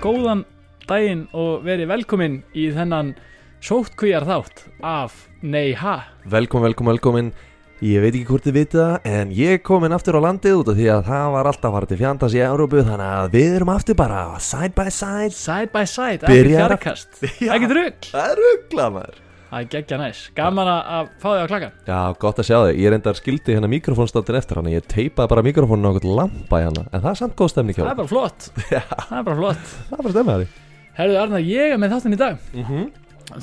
góðan daginn og verið velkomin í þennan sótkvíjar þátt af Nei Ha Velkomin, velkomin, velkomin Ég veit ekki hvort þið vitið það En ég er komin aftur á landið út af því að það var alltaf farið til fjandans í Európu Þannig að við erum aftur bara side by side Side by side, ekki Byrjar að- fjarkast Já. Ekki drugg Það er ruggla maður Það er geggja næs, gaman að- að fá þig á klakkan Já, gott að sjá þig Ég reyndar skildi hérna mikrofónstáttin eftir hana Ég teipaði bara mikrofónun á okkur lampa í hana En það er samt góð stemning hjá Það er þér. bara flott Það er bara flott Það er bara stemning hjá þig Herðu Arnar, ég er með þáttinn í dag Mhm.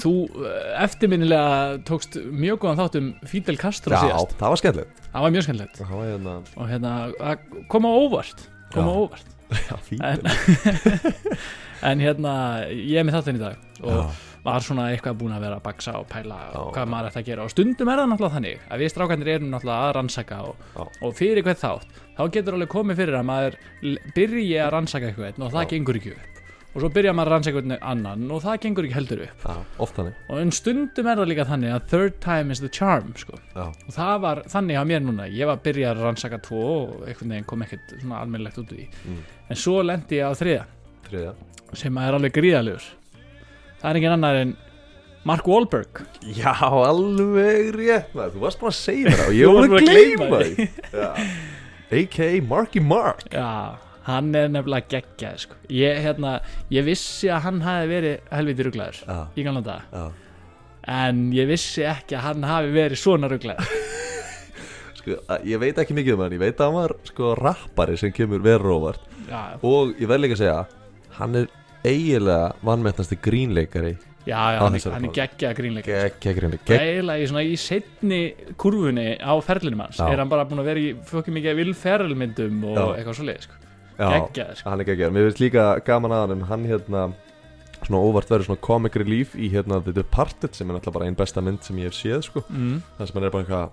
Þú eh, eftirminnilega tókst mjög góðan þátt um Fidel Castro Já, síðast það var skemmtilegt Það var mjög skemmtilegt Það var hérna og hérna, að koma óvart koma Já. óvart Já, fínt en, en hérna, ég er með þáttinn í dag og Já, var svona eitthvað búin að vera að baksa og pæla Já. hvað maður ætti að gera og stundum er það náttúrulega þannig að við strákarnir erum náttúrulega að rannsaka og, Já. og fyrir hvert þátt þá getur alveg komið fyrir að maður l- byrji að rannsaka eitthvað einn og það Já. gengur ekki upp og svo byrja maður að rannsaka eitthvað annan og það gengur ekki heldur upp já, oft þannig og en stundum er það líka þannig að third time is the charm sko. Já, og það var þannig á mér núna ég var að byrja að rannsaka tvo og einhvern veginn kom ekkert svona almennilegt út úr því Mm. en svo lendi ég á þriða þriðja sem er alveg gríðalegur það er engin annar en Mark Wahlberg Já, alveg rétt maður Þú varst bara að segja mér það og Þú ég varst voru bara að að gleyma gleyma því Já. A.k.a. Marky Mark Já, hann er nefnilega geggjað sko. ég, hérna, ég vissi að hann hafi verið helviti rugglaður Já, í gamla daga já en ég vissi ekki að hann hafi verið svona rugglaður Sko, að- ég veit ekki mikið um hann, ég veit að hann var sko rappari sem kemur verður óvart já, og ég verð líka að segja, hann er eiginlega vannmettnasti grínleikari já, já, Á hann, er- þessari hann er báðu. geggjað grínleik Gekk, grínleik, Það er gekk eiginlega í, svona, í setni kurfunni á ferlinum hans Já. er hann bara búin að vera í fokki mikið vilferlmyndum og Já. eitthvað svoleið sko. Já, geggjað sko. hann er geggjað, mér finnst líka gaman að hann en hann hérna svona óvart verður svona comic relief í hérna The Departed sem er náttúrulega bara einn besta mynd sem ég hef séð sko mm. Það sem hann er bara eitthvað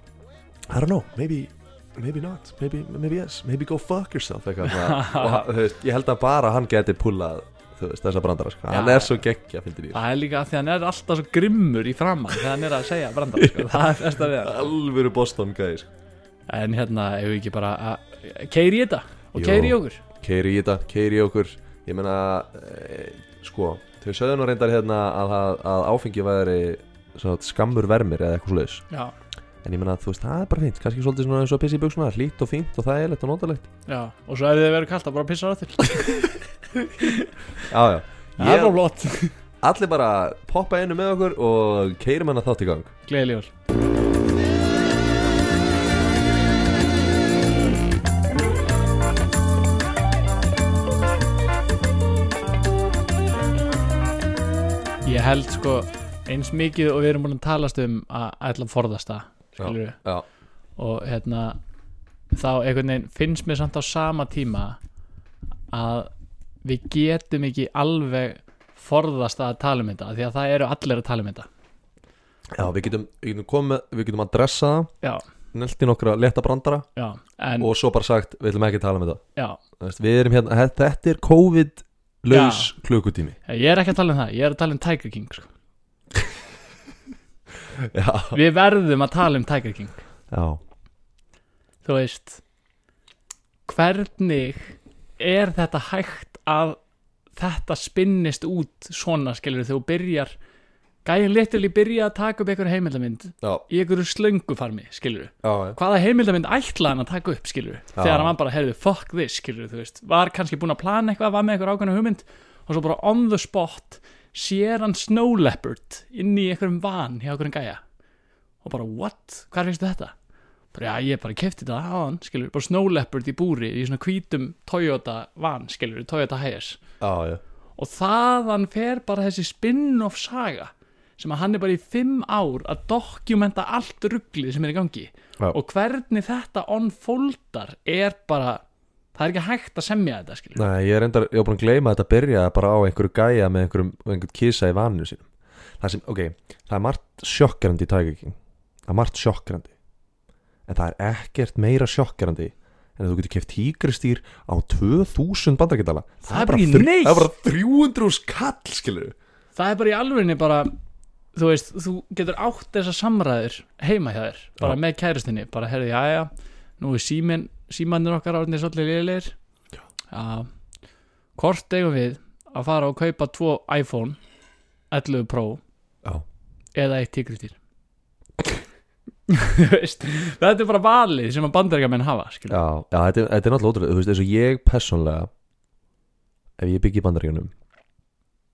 I don't know, maybe, maybe not, maybe, maybe yes, maybe go fuck yourself eitthvað svona. og hann- þú veist, ég held að bara hann geti pullað þú veist, þessa brandara sko. hann Já. er svo geggja, fylgir ég það er líka af því að hann er alltaf svo grimmur í framann þegar hann er að segja brandar sko. það er besta við hann alvöru Boston guy sko. En hérna, ef við ekki bara að keiri í þetta og Jú. keiri í okkur keiri í þetta, keiri í okkur ég meina, e, sko þau sögðu nú reyndar hérna að, að, að áfengi væri svona skammur vermir eða eitthvað slags, Já, en ég meina þú veist, það er bara fínt, kannski svolítið svona eins og pissi í buksuna hlýtt og fínt og það er leitt og notalegt já, og svo ef þið verður kalt að bara pissa á til já, já, Það er Ég- bara flott allir bara poppa einu með okkur og keirum hann að þátt í gang Gleðilegur Ég held sko eins mikið og við erum búin að talast um að ætla að forðast það skilur við já, og hérna þá einhvern veginn finnst mér samt á sama tíma að við getum ekki alveg forðast að tala um þetta af því að það eru allir að tala um þetta Já, við getum, við getum komið, við getum að dressa það já, Nelti nokkra leta brandara já, en, Og svo bara sagt, við ætlum ekki að tala um þetta já Þú veist, Við erum hérna, þetta- þetta er COVID-laus klukkutími ég er ekki að tala um það, ég er að tala um Tiger King sko. Já, við verðum að tala um Tiger King já, þú veist hvernig er þetta hægt að þetta spinnist út svona skilur þegar þú byrjar gæðin litil í byrja að taka upp einhver heimildamind já, í einhverju slöngufarmi, skilur já, hvaða heimildamind ætlaði hann að taka upp, skilur þegar hann bara, heyrðu, fuck this, skilur þú veist var kannski búin að plana eitthvað, var með einhver ákveðna hugmynd og svo bara on the spot sér hann Snow Leopard inn í einhverjum van hjá einhverjum gæja og bara, what, hvað finnst þetta? bara, já, ég bara kefti þetta á hann, skilur bara Snow Leopard í búri, í svona hvítum Toyota van, skilur, Toyota Hiace já, já. og þaðan fer bara þessi spin-off saga sem að hann er bara í fimm ár að dokumenta allt rugglið sem er í gangi Já. og hvernig þetta onfoldar er bara það er ekki hægt að semja þetta skilur Nei, ég er endar, ég var búin að gleyma að þetta byrja bara á einhverju gæja með einhverjum, einhverjum kisa í vaninu sínum Það sem, ok, það er margt sjokkerandi í Tiger King Það er margt sjokkerandi En það er ekkert meira sjokkerandi En að þú getur keft tígristýr á 2000 bandargetala Það er bara ekki neitt. Það er bara 300 kall, skilur það er bara í alvegni bara þú veist, þú getur átt þessar samræður heima hjá þér, bara Já. með kærustinni bara herði, já, já, nú er símin símanir okkar árnir svolítið liðilegir já, hvort eigum við að fara og kaupa tvo iPhone 11 Pro Já. eða eitt tígrutýr Þú veist, þetta er bara valið sem að bandaríkamenn hafa skilur. Já, já þetta, er- þetta er náttúrulega ótrúlega Þú veist, eins og ég persónlega Ef ég byggi í bandaríunum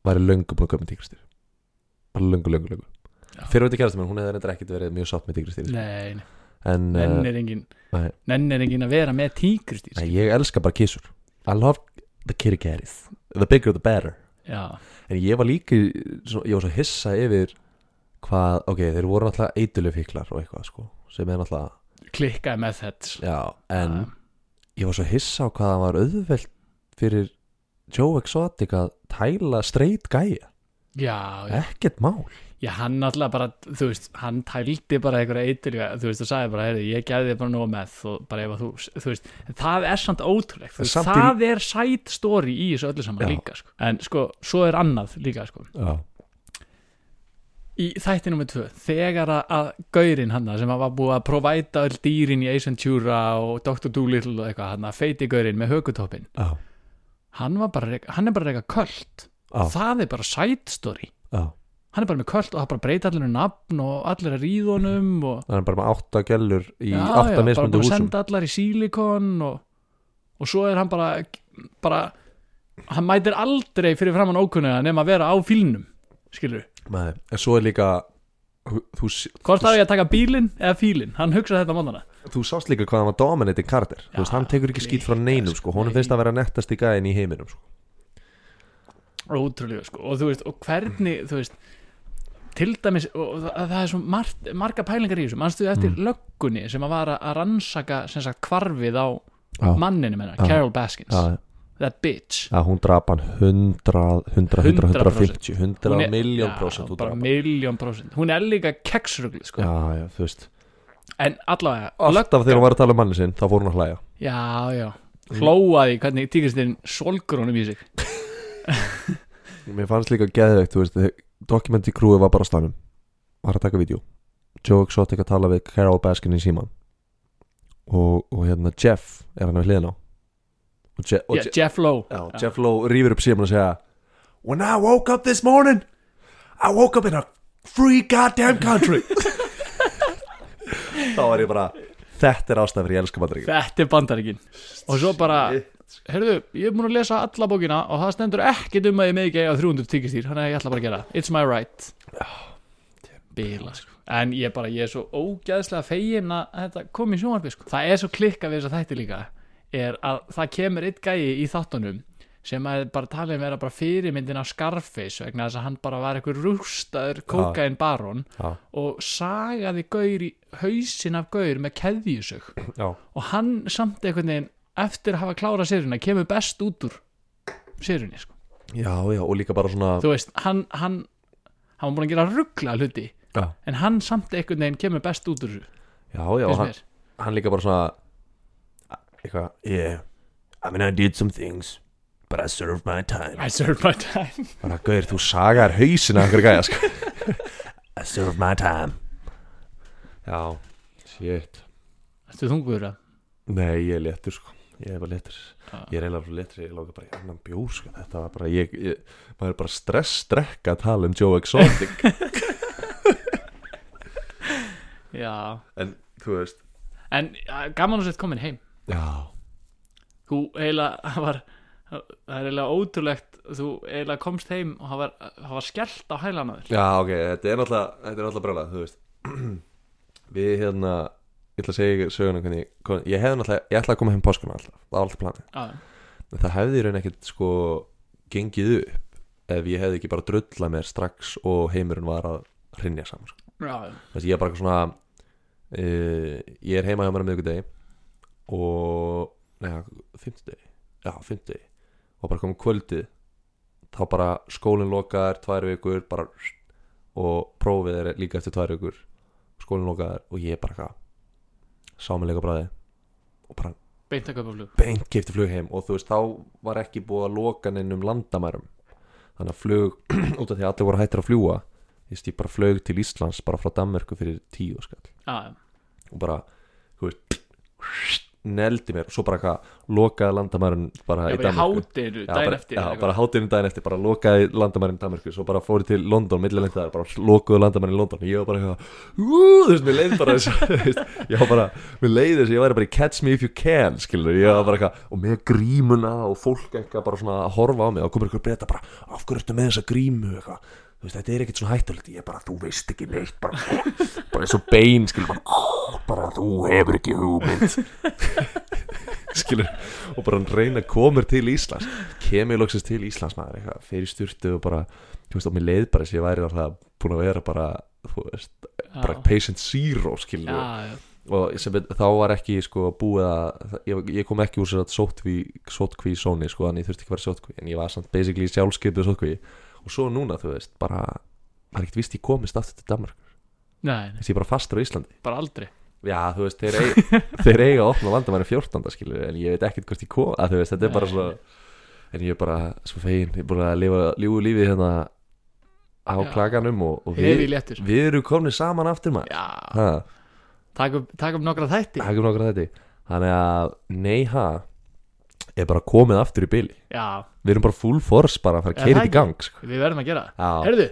Væri löngu búin að köpa með tíkristýr Bara löngu, löngu, löngu Já. Fyrir veit að kærast mér, hún hefði reyndar ekkit verið mjög sátt með tíkristýr Nei, nei, En nenn uh, er engin nei. nenn er engin að vera með tígrutýr nei, ég elska bara kísur I love the kitty catties The bigger the better Já, En ég var líka, í- svo, ég var svo hissa yfir Hvað, ok, þeir voru náttúrulega eitulufíklar og eitthvað sko Sem er náttúrulega, klikkaði með þetta já, en ég var svo hissa á hvað það var auðvelt fyrir Joe Exotic að tæla straight gæja, Já, já, ekkert mál já, hann alltaf bara, þú veist, hann tældi bara einhverja eitur, þú veist, það sagði bara, heyrðu, ég gæði þér bara nóg með og bara ef að þú, þú veist, það er samt ótrúlegt, þú veist, Samt í- það er sæt story í þessu öllu saman Já. líka, sko. En sko, svo er annað líka, sko. já. Í þætti nr. 2, þegar að- að gaurinn hann sem var búið að provæta öll dýrin í Ace Ventura og Dr. Doolittle og eitthvað, hann að feiti gaurinn með hökutoppin, Já. hann, var bara að reka- hann er bara reyka költ, Já. það er bara sæt story. Já. hann er bara með kvöld og það bara breyta allir um nafn og allir að ríða honum og það er bara með átta gellur í Já, já, átta bara búin mismundu að húsum senda allar í sílikon og, og svo er hann bara, bara hann mætir aldrei fyrir framann ókunniða nema að vera á fílnum skilur, Nei. en svo er líka þú, þú, hvort á ég að taka bílinn eða fílinn, hann hugsa þetta mótana þú sást líka hvað hann var dominating karakter Já, þú veist, hann tekur ekki skýt frá neinum sko. honum nei. finnst að vera nettast í gæðin í heiminum sko. ótrúlega sko, og þú veist, og hvernig þú veist, til dæmis og og það, það er svo margt, marga pælingar í þessu mannstu Mm. eftir löggunni sem að var að rannsaka, sem sagt, hvarfið á Já. manninu menna, Já. Carol Baskins já, that bitch já, hún draf hann 100 100, 100, 150 Hún 100 er- miljón Já, prósent hún bara drap hann. miljón prósent hún er líka keksrugli sko. já, já, þú veist en allavega alltaf þegar hún var að tala um manni sinn, þá fór hún að hlæja já, já, hlóaði hvernig tíkastinn solgur honum í sig Mér fannst líka geðveikt, þú veist Documentary crewið var bara á stanum Var að taka vídeo Joe Exotic að tala við Carol Baskin í síman Og, og hérna Jeff er hann við hliðin á Og, Je og yeah, Jeff Lowe Já, Jeff Lowe rýfur upp síman og segja When I woke up this morning I woke up in a free goddamn country Þá var ég bara Þetta er ástæðan fyrir ég elska bandaríkjum þetta er bandaríkin og svo bara, heyrðu, ég er múin að lesa alla bókina og það stendur ekkit um að ég megi á 300 tíkastýr, þannig að ég ætla bara að gera það. it's my right bila sko en ég bara, ég er svo ógæðslega fegin að þetta kom í sjónvarpi sko það er svo klikka við þess að þætti líka er að það kemur eitt gæi í þáttunum sem að er bara talið um vera bara fyrirmyndin af Scarface vegna þess að hann bara var eitthvað rústaður kókain barón Já. og sagaði gaur í hausin af gaur með keðjusög Já, og hann samt einhvern veginn eftir að hafa klárað séruna kemur best út úr sérunni sko. já, já, og líka bara svona þú veist, hann hann, hann var búin að gera ruggla hluti Já, en hann samt einhvern veginn kemur best út úr þessu já, já finnst hann, mér. hann líka bara svona eitthvað yeah, I mean I did some things but I served my time I served my time bara gauðir þú sagar hausina okkur gæja sko I served my time já, shit Þetta er þungur að nei ég er léttur sko ég er bara léttur Ah. ég er eiginlega bara léttur ég lóka bara í annan bjór sko þetta var bara ég, ég maður er bara stress strekka að tala um Joe Exotic Já en þú veist En ja, gaman að sett komin heim já Þú eiginlega var Það er eiginlega ótrúlegt Þú eiginlega komst heim og það var, það var skellt á hælan á þér Já, ok, þetta er náttúrulega, þetta er náttúrulega brjálað, þú veist Við hérna, ég ætla að segja ykkur söguna hvernig, hvernig Ég hefði náttúrulega, ég ætla að koma heim páskuna alltaf Það var alltaf planið Já, En það hefði í raun ekkert sko gengið upp Ef ég hefði ekki bara drullað mér strax Og heimurinn var að hrynja saman sko. já, Þessi ég er bara eitthvað svona uh, Ég er heima hjá mér að miðvikudegi Og, neða, fimmtudegi Já, fimmtudegi Og bara komum kvöldið Þá bara skólinn lokaðar, tvær vikur Bara, og prófið er líka eftir tvær vikur Skólinn lokaðar og ég bara eitthvað Sá mig leika bræði Og bara beint að kaupa flug beint keipti flug heim Og þú veist, þá var ekki búið að loka neinum landamærum Þannig að flug, út af því að allir voru hættir að fljúa Ég stíf bara flög til Íslands Bara frá Danmörku fyrir tíu skall Já, og bara þú veist neldi mér svo bara hvað, lokaði landamærin bara Já, í bara í Danmörku hátinu Já, daginn bara- eftir já, eða eitthvað. bara hátíðinu daginn eftir, bara lokaði landamærin Danmarku, svo bara fóri til London, millilegnt þar bara lokuðu landamærin í London, ég var bara eitthvað, ú, þú veist, mér leiði bara þess þú veist, ég var bara, mér leiði þess ég væri bara í catch me if you can, skilur ég var bara eitthvað, og með grímuna og fólk eitthvað bara svona að horfa á mig, og komur eitthvað breyta bara, af hverju ertu með þessa grímu eitthvað, þú veist, þetta er ekkert svona hættulegt ég bara, þú veist ekki neitt, bara bara eins og bein, skilur, bara, "Ah, bara þú hefur ekki hugmynd skilur, og bara reyna að koma mér til Íslands kemur loksist til Íslands maður eitthvað, fer í styrtu og bara þú veist, og mér leið bara sem ég væri alltaf búin að vera bara, þú veist, bara Já. patient zero, skilur Já, já. og sem, bet- þá var ekki, sko, búið að ég, ég kom ekki úr sér að sótkví sótkví sóni, sko, þannig ég þurfti ekki að vera sótkví en ég var samt basically sjálfskeipuð sótkví og svo núna, þú veist, bara maður ekkert vist ég komist aftur til Danmark Nei, nei, þess ég er bara fastur á Íslandi bara aldrei Já, þú veist, þeir eiga, þeir eiga að opna landamæri 14. skilur, en ég veit ekkert hvort ég kom að þú veist, þetta er bara Nei. svo en ég er bara svo fegin, ég er búin að lifa lífu lífið hérna á Já. klaganum og, og Hefi við, léttur við erum komin saman aftur maður Já, ha, takk upp, takk upp nokkra þætti hægum nokkur að þetta þannig að nei ha er bara komið aftur í byli Já, við erum bara full force bara að fara Er að keira það þetta í gang sko. við verðum að gera það Já, Herðu,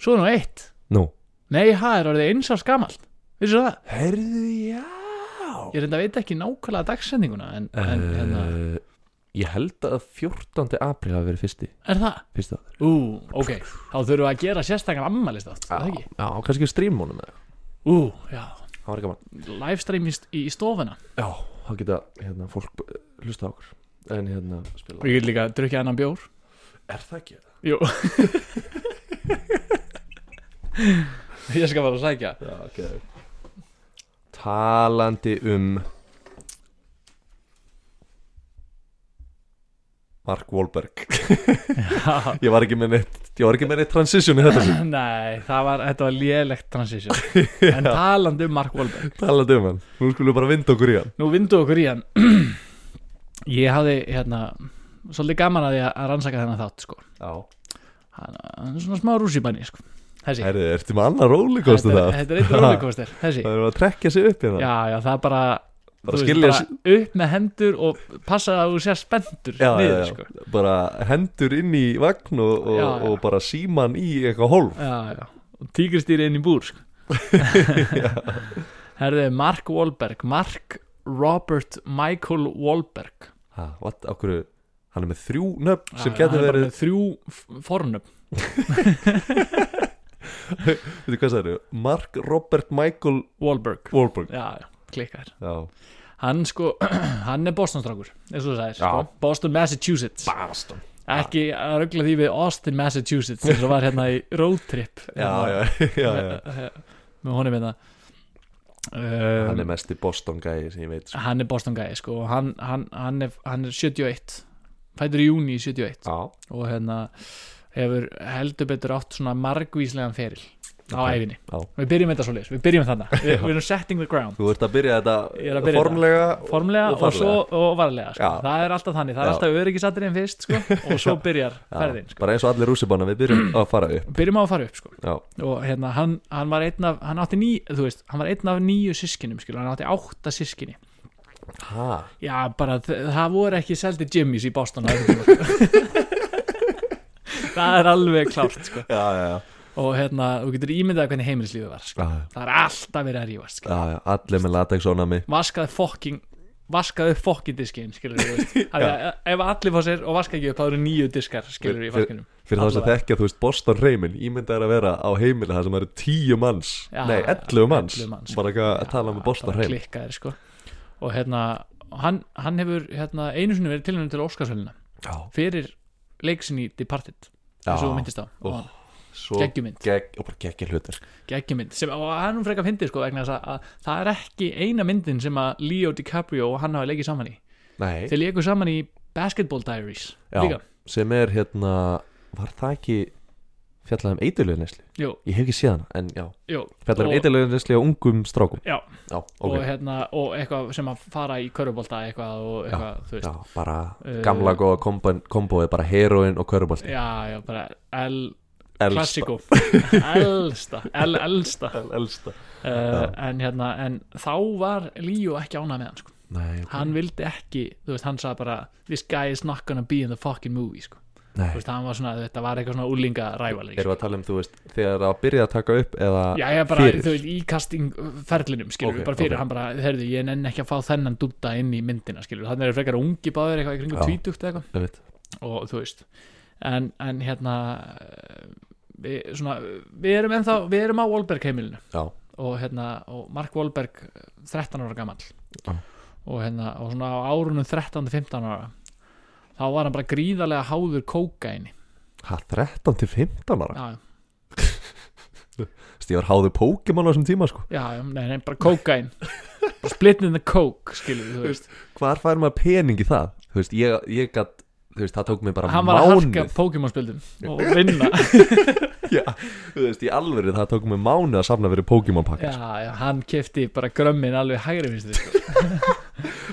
svo er nú eitt nú Nei, það er orðið eins árs gamalt Vissu það? Herðu, já Ég reynda að veit ekki nákvæmlega dagsendinguna En, en hérna, uh, Ég held að 14. apríl hafi verið fyrsti, er það? fyrsti að Ú, ok, þá þurfum við að gera sérstakar ammalist átt, það ekki? Já, kannski strímónum eða Ú, já, Það var gaman livestream í, í stofuna Já, þá geta hérna, fólk eh, hlusta á okkur En hérna spila Við getum líka að drukja annan bjór Er það ekki? Jú Ég skal bara sækja Já, ok Talandi um Mark Wahlberg Já. Ég var ekki með neitt Ég var ekki með neitt transition í þetta Nei, það var, þetta var lélegt transition En talandi um Mark Wahlberg Talandi um hann Nú skulum við bara vinda okkur í hann Nú vindu okkur í hann Ég hafði hérna Svolítið gaman að ég að rannsaka þennan þátt sko. Já hann, hann er svona smá rússibanni sko. Þessi Herðu, ertu með annar rólikostu Þetta það? er- þetta er eitt rollercoaster Þessi Það er að trekkja sig upp hérna Já, já, það er bara, Bara þú veist, skilja sig- bara upp með hendur og passa að þú sér spendur já, niður, já, já. Sko. bara hendur inn í vagn og, og, Já, já. og bara síman í eitthvað hólf Já, já, og tígristýri inn í búr sko. Herðu, Mark Wahlberg Mark Robert Michael Wahlberg ha, what, okkur, hann er með þrjú nöfn sem Já, hann getur er bara verið, með Þrjú f- fornöfn veitu hvað það eru Mark Robert Michael Wahlberg Wahlberg Já, já, klikkar já. Hann sko, hann er Boston-strákur eins og þú sagðir, Já. sko. Boston, Massachusetts Boston ekki að ruggla því við Austin, Massachusetts eins og var hérna í roadtrip já, já, já, já. með honum hérna hann um, er mest í Boston gæði sem ég veit sko. hann er Boston gæði sko og hann, hann, hann, er, hann er 71 fætur í júni í 71 já, og hérna hefur heldur betur átt svona margvíslegan feril á Ok. æfinni Já. við byrjum þetta svo við byrjum þarna við, við erum setting the ground þú ert að byrja Ég er þetta að byrja formlega formlega og, farlega. svo og varlega sko. Já. það er alltaf þannig, það er Já. alltaf öryggisatriðin fyrst sko, og svo byrjar Já, ferðin sko. bara eins og allir rússibanna við byrjum að fara upp byrjum á að fara upp sko. já, og hérna, hann, hann var einn af hann átti, ný, þú veist, hann var einn af nýju sískinum skilur, hann átti átta sískinni ha, já, bara, þ- það voru ekki seldi Jimmys í Boston á þessum tíma, sko. það er alveg klárt sko. já, já, já. og hérna, þú getur ímyndað hvernig heimilislífið var sko. já, það er alltaf verið að rífast sko. já, já. allir með latexónami vaskaði fokking vaskaði upp fokkin diskin skilur við, veist Af því að ef allir fá sér og vaska ekki upp þá eru nýju diskar skilur við í Fyr- vaskinum fyrir þá sem Allavega. þekkja, þú veist, Boston reymin ímyndað er að vera á heimili það sem eru tíu manns Já, nei, ellu manns, 11 manns. bara eitthvað að tala með Boston reym klikkaðir sko og hérna, hann, hann hefur hérna, einu sinni verið tilhengið til Óskarsvölina já, fyrir leiksin í Departed já, eins og þú myndist á Ó. oh. svo geggjumynd. gegg- og bara geggja hlutir geggjumynd sem, og hann er frekar fyndið sko vegna þess að, að það er ekki eina myndin sem að Leo DiCaprio og hann hafa leikið saman í nei, þeir leiku saman í Basketball Diaries já, líka, sem er hérna var það ekki fjallað um eitilöðu nesli, jú, ég hef ekki séð hana en já, jú fjallað um Og- eitilöðu nesli á ungum strákum Já, já, og, ok, hérna, og eitthvað sem að fara í körubolta eitthvað og eitthvað, þú veist já, bara Eh, gamla góða kombóið, bara heroin og körubolti Já, já, bara L klassíkó elsta, el, elsta Elsta uh, en, hérna, en þá var Líó ekki ánað með hann sko. Nei, ok. hann vildi ekki, þú veist, hann sagði bara this guy is not gonna be in the fucking movie sko. Nei. þú veist, hann var svona, þetta var eitthvað svona úlinga rævali Erum við að tala um, þú veist, þegar það byrjaði að taka upp eða Já, ég bara, fyrir? þú veist, í castingferlinum skilur Ok, bara fyrir, ok. hann bara, heyrðu, ég nenni ekki að fá þennan dúta inn í myndina, skilur þannig eru frekar ungi báður eitthvað í kringum Já. tvítugt eða eitthvað Ég veit. og þú veist en, en hérna eh, við, svona, við erum ennþá við erum á Wahlberg heimilinu Já, og, hérna, og Mark Wahlberg eh, 13 ára gamall Já. og, hérna, og svona á árunum 13-15 ára þá var hann bara gríðarlega háður kókaini hæ, 13 til 15 ára já, Þú veist, Ég var háður Pokémon á þessum tíma, sko já, já, nei, nei, bara kókain Bara split in the coke, skilur við, þú veist Hvar fær maður pening í það? Þú veist, ég, ég gat, þú veist, það tók mig bara hann var að mánuð harka Pokémon-spildum og vinna Já, þú veist, í alverið það tók mig mánuð að safna fyrir Pokémon pakka já, já, hann kefti bara grömmin alveg hægri minnstu sko.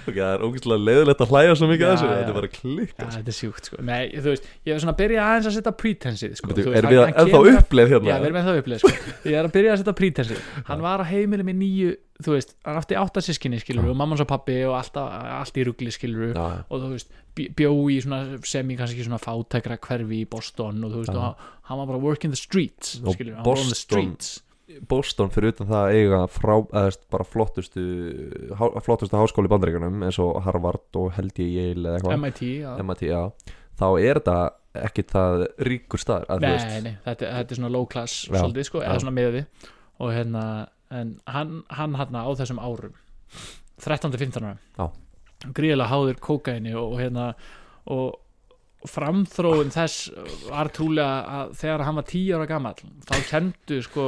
Ok, það er ógeðslega leiðilegt að hlæja svo mikið að Já, þessu já. Þetta er bara Já, klikka þetta er sjúkt sko. Nei, þú veist, ég er svona að byrja aðeins að setja prítensið sko. Þú veist, Erum hann- við hann ennþá kemur- uppleið Já, við hérna? erum ennþá uppleið sko. Ég er að byrja að setja prítensið Hann var á heimili með nýju Þú veist, hann átti átta sískinni skilur og mamma hans og pappi og allt, á- allt í ruggli skilur Já, já. og þú veist, bj- bjó í svona semi kannski svona fátækra hverfi í Boston og þú veist, og hann- hann var bara working the streets Og skilur, hann var on the Boston- streets Boston fyrir utan það að eiga frá, eðst, bara flottustu há, flottustu háskóli í bandaríkunum eins og Harvard og held ég Yale eða eitthvað MIT, já MIT, já, þá er þetta ekkit það ríkur staðar að þú veist, Nei, nei, þetta, þetta er svona low class Já, svolítið, sko, já. eða svona miðað við og hérna, en hann hann hérna á þessum árum 13-15 Já. árum gríðilega háður kókaini og hérna og framþróun þess var trúlega að þegar hann var 10 ára gamall þá kendu sko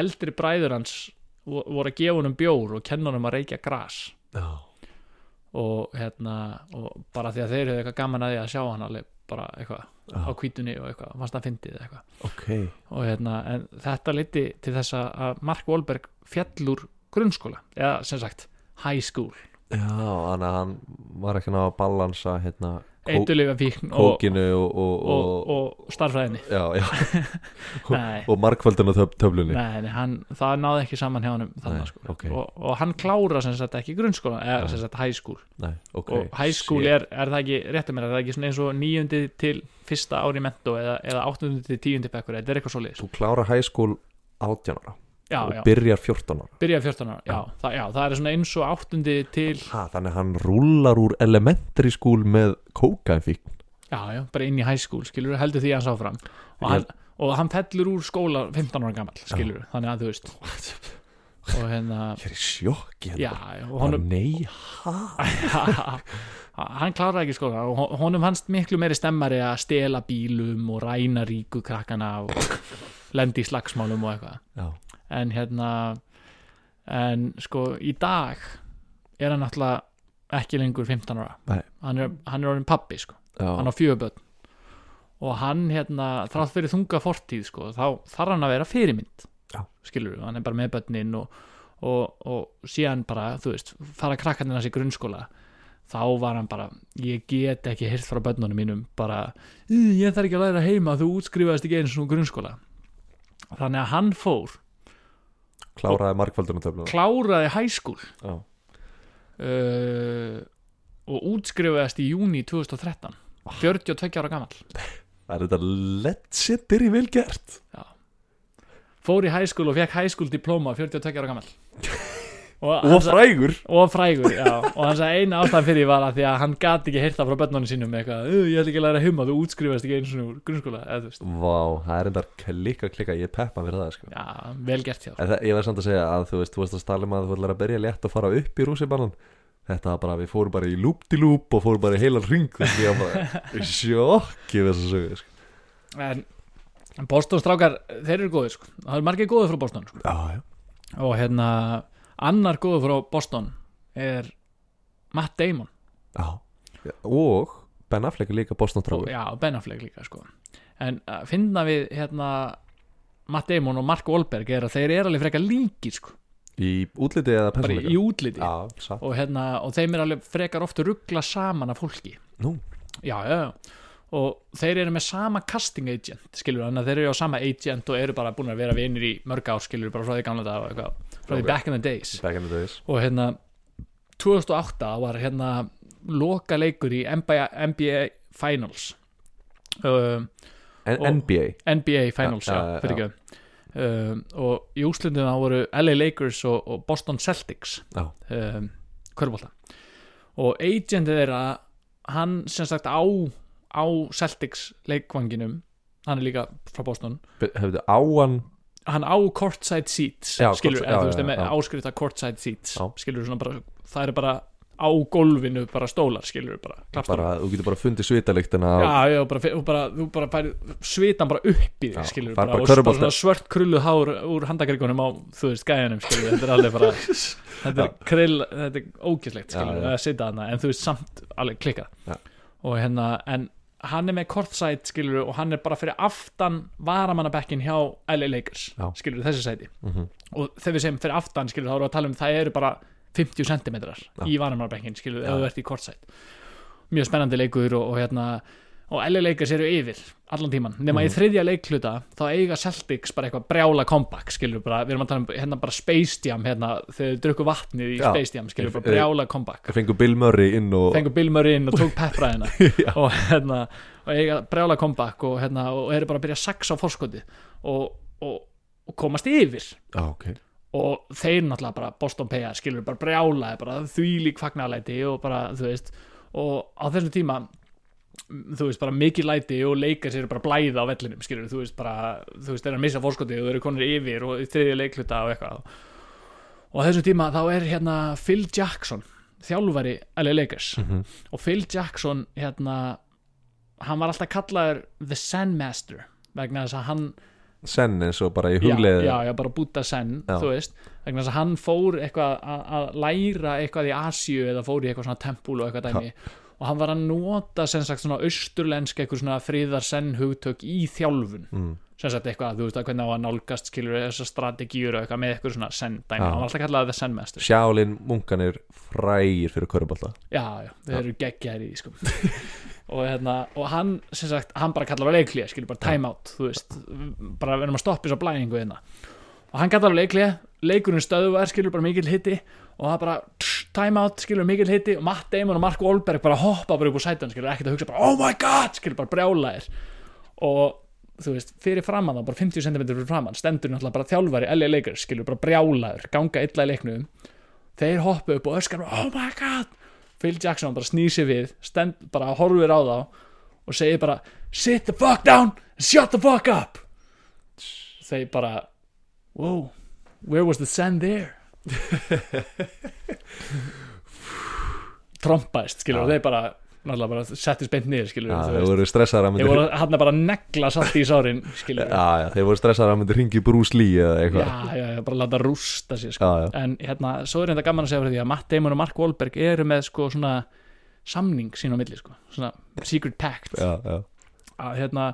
eldri bræður hans vo- voru að gefa honum bjór og kenna honum að reykja gras já, og hérna og bara því að þeir höfðu eitthvað gaman að því að sjá hann alveg bara eitthvað Já. á kvítunni og eitthvað, fannst hann fyndið eða eitthvað ok og hérna, en þetta leiti til þess að- að Mark Wahlberg féll úr grunnskóla, eða sem sagt high school, Já, þannig að hann var ekki ná að balansa hérna, kó, eitulifja fíkn og, kókinu og, og, og, og, starfræðinni já, já, nei, og markvöldinu töf, töflunni nei, nei, hann, það náði ekki saman hjá hann þannig sko ok. og, og hann klára sem sagt ekki grunnskóla eða sem sagt high school Nei, ok og high school er, er það ekki rétt að mér, er það ekki svona eins og níundi til fyrsta ári mentó eða, eða áttundi til tíundi bekkur, eða þetta er eitthvað svo liðis Þú klára high school 18 ára já, og já, byrjar 14 ára byrja 14 ára, já, það, já, það er svona eins og áttundi til, ha, Þannig að hann rúlar úr elementary school með kókainfík já, já, bara inn í high school skilur, heldur því að hann sá fram og Ég- hann, og hann fellur úr skóla 15 ára gamall, skilur, þannig að þú veist og hérna Ég er í sjokki já, hérna. já, og honum Nei, hann kláraði ekki skóla og hon- honum fannst miklu meiri stemmari að stela bílum og ræna ríku krakkana og lendi í slagsmálum og eitthvað já, en hérna en sko í dag er hann náttúrulega ekki lengur 15 ára Nei. hann er, hann er orðin pappi sko, já, hann á fjöguböld og hann hérna þrátt fyrir þunga fortíð sko, þá þarf hann að vera fyrirmynd Já. skilur við, hann er bara með börnin og, og, og síðan bara þú veist, fara krakkarnir hans í grunnskóla þá var hann bara, ég get ekki hirt frá börnunum mínum, bara "Í, ég þarf ekki að læra heima, þú útskrifaðist ekki eins og grunnskóla þannig að hann fór kláraði markvöldinu töflunni kláraði high school Já. uh, og útskrifaðist í júni 2013 42 ára gamall Það er þetta legendary vel gert fór í high school og fekk high school diploma 42 ára gamall og, Og hann sa- frægur og frægur já. og hann sagði eina ástæðan fyrir því var að því að hann gati ekki heyrta frá börnunum sínum eitthvað, "Uh, ég ætla ekki að læra heima, þú útskrifaðist ekki eins og úr grunnskóla eða þú veist, Vá, það er þetta klikka klikka Ég peppa fyrir það sko. já, vel gert hjá þér. En það, ég verð samt að segja að þú veist, þú veist að stala maður þú ætlar að byrja létt og fara upp í rússibannan þetta var bara, við fórum bara í lúptilúp og fórum bara í heilan ring þannig að bara sjokki við þessu sögu sko. en en Boston strákar, þeir eru góðir sko. það eru margir góðir frá Boston sko. Já, já, og hérna annar góður frá Boston er Matt Damon já og Ben Affleck er líka Boston og, Tráfi já, Ben Affleck líka sko. en að finna við hérna Matt Damon og Mark Wahlberg er að þeir eru alveg frekar líkir sko, í útliti eða bara í persónleika útliti Já, satt og, hérna, og þeim er alveg frekar oft ruggla saman af fólki Nú, já, já, já og þeir eru með sama casting agent skilur, þannig að þeir eru á sama agent og eru bara búin að vera vinir í mörg ár skilur, bara frá því gamla dag og eitthvað, frá því Ok. back in the days back in the days og hérna 2008 var hérna loka leikur í NBA, NBA Finals um, en, Og- NBA NBA Finals, Ja, já, ja, fyrir ekki um, og í úslundinu þá voru LA Lakers og, og Boston Celtics Já. um, körbólta og agentið þeirra hann sem sagt á, á Celtics leikvanginum hann er líka frá Boston hefðu áan hann á courtside seats Já, skilur, courtside- eða já, þú veist, já, með já. áskrifta courtside seats Já. skilur svona bara, það er bara á gólfinu bara stólar, skilur bara, klappstólar. bara, þú getur bara fundið svitaliktina á- Já, já, bara, og bara, þú bara færi svitan bara upp í Já, þig, skilur fær bara, bara og bara körfubolta. svona svört krulluð hár úr handakrikunum á, þú veist, gæjanum, skilur þetta er alveg bara, þetta er krill þetta er ógislegt, skilur, Já, já. að sita hana en þú veist, samt alveg klikkað Já. og hérna, en hann er með kortsæt, skilur, og hann er bara fyrir aftan varamannabekkin hjá LA Lakers, Já. skilur, þessi sæti Mhm. og þegar við segjum fyrir aftan, skilur, þá erum við að tala um það eru bara 50 cm Já. í varamannabekkin, skilur, Já. ef þú ert í kortsæt mjög spennandi leikur og, og hérna og LA Lakers eru yfir allan tíman nema Mhm. í þriðja leikluta þá eiga Celtics bara eitthvað brjála comeback skilur bara, við erum að tala um hérna bara Space Jam hérna, þegar þau drukku vatnið í Já. Space Jam skilur bara Eh, brjála comeback fengu Bill Murray inn og fengur Bill Murray inn og tók pepraðina og hérna og eiga brjála comeback og hérna og eru bara að byrja sex á forskoti og, og, og komast yfir Já, ok og þeir náttúrulega bara Boston Paya skilur bara brjála bara þvílík fagnalæti og bara þú veist og á þessum tíma mm, þú veist bara mikið læti og leikar sér bara blæða á vellinum skilur þú veist bara þú veist þeir eru að missa fórskotið og þeir eru konir yfir og í þriðja leikluta og eitthvað og á þessum tíma þá er hérna Phil Jackson þjálfari LA Lakers Hm. Mhm. og Phil Jackson hérna hann var alltaf kallaður The Sandmaster vegna þess að hann Senn eins og bara í Já, hugleði já, já, bara búta senn, Já. þú veist vegna þess að hann fór eitthvað að- að læra eitthvað í Asíu eða fór í eitthvað svona tempúl og eitthvað dæmi og hann var að nota sem sagt svona austurlensk eitthvað svona friðar senn hugtök í þjálfun Mm. sem sagt eitthvað, þú veist að hvernig á að nálgast skilur þessar strategíur og eitthvað með eitthvað svona senn dæmi, Já. hann var alltaf kallað það sennmestur Sjálin munkanir frægir fyrir körubálta Já, já, þeir eru geggjaðir í því, sko og, hérna, og hann, sem sagt, hann bara kallar á leiklíða, skilur bara time out, þú veist bara við erum að stoppa þess að blæðingu hérna og hann kallar á leiklíða, leikurinn stöðuvar skilur bara mikil hitti og það bara tss, time out, skilur mikil hitti og Matt Damon og Mark Wahlberg bara hoppa bara upp úr sætan skilur ekkert að hugsa bara, oh my god, skilur bara brjálaðir og þú veist, fyrir framann þá, bara 50 cm fyrir framann stendur náttúrulega bara þjálfari, LA Lakers skilur bara brjálaður, ganga illa í leiknum þeir hoppa upp og öskar oh my god, Phil Jackson bara snýr sér við stend, bara horfir á þá og segir bara sit the fuck down and shut the fuck up þeir bara wow, where was the sand there trompaðist skilur, og Já. þeir bara náttúrulega bara settist beint niður skilur Já, þeir voru stressaðar að Þeir myndi voru hann bara að negla satt í sárin skilur Já, já, þeir voru stressaðar að myndi ringi Bruce Lee eða já, eitthvað já, já, bara láta rústa sér sko. Já, já, En hérna, svo er þetta gaman að segja fyrir því að Matt Damon og Mark Wahlberg eru með sko svona samning sín á milli sko Svona secret pact já, já. Að hérna,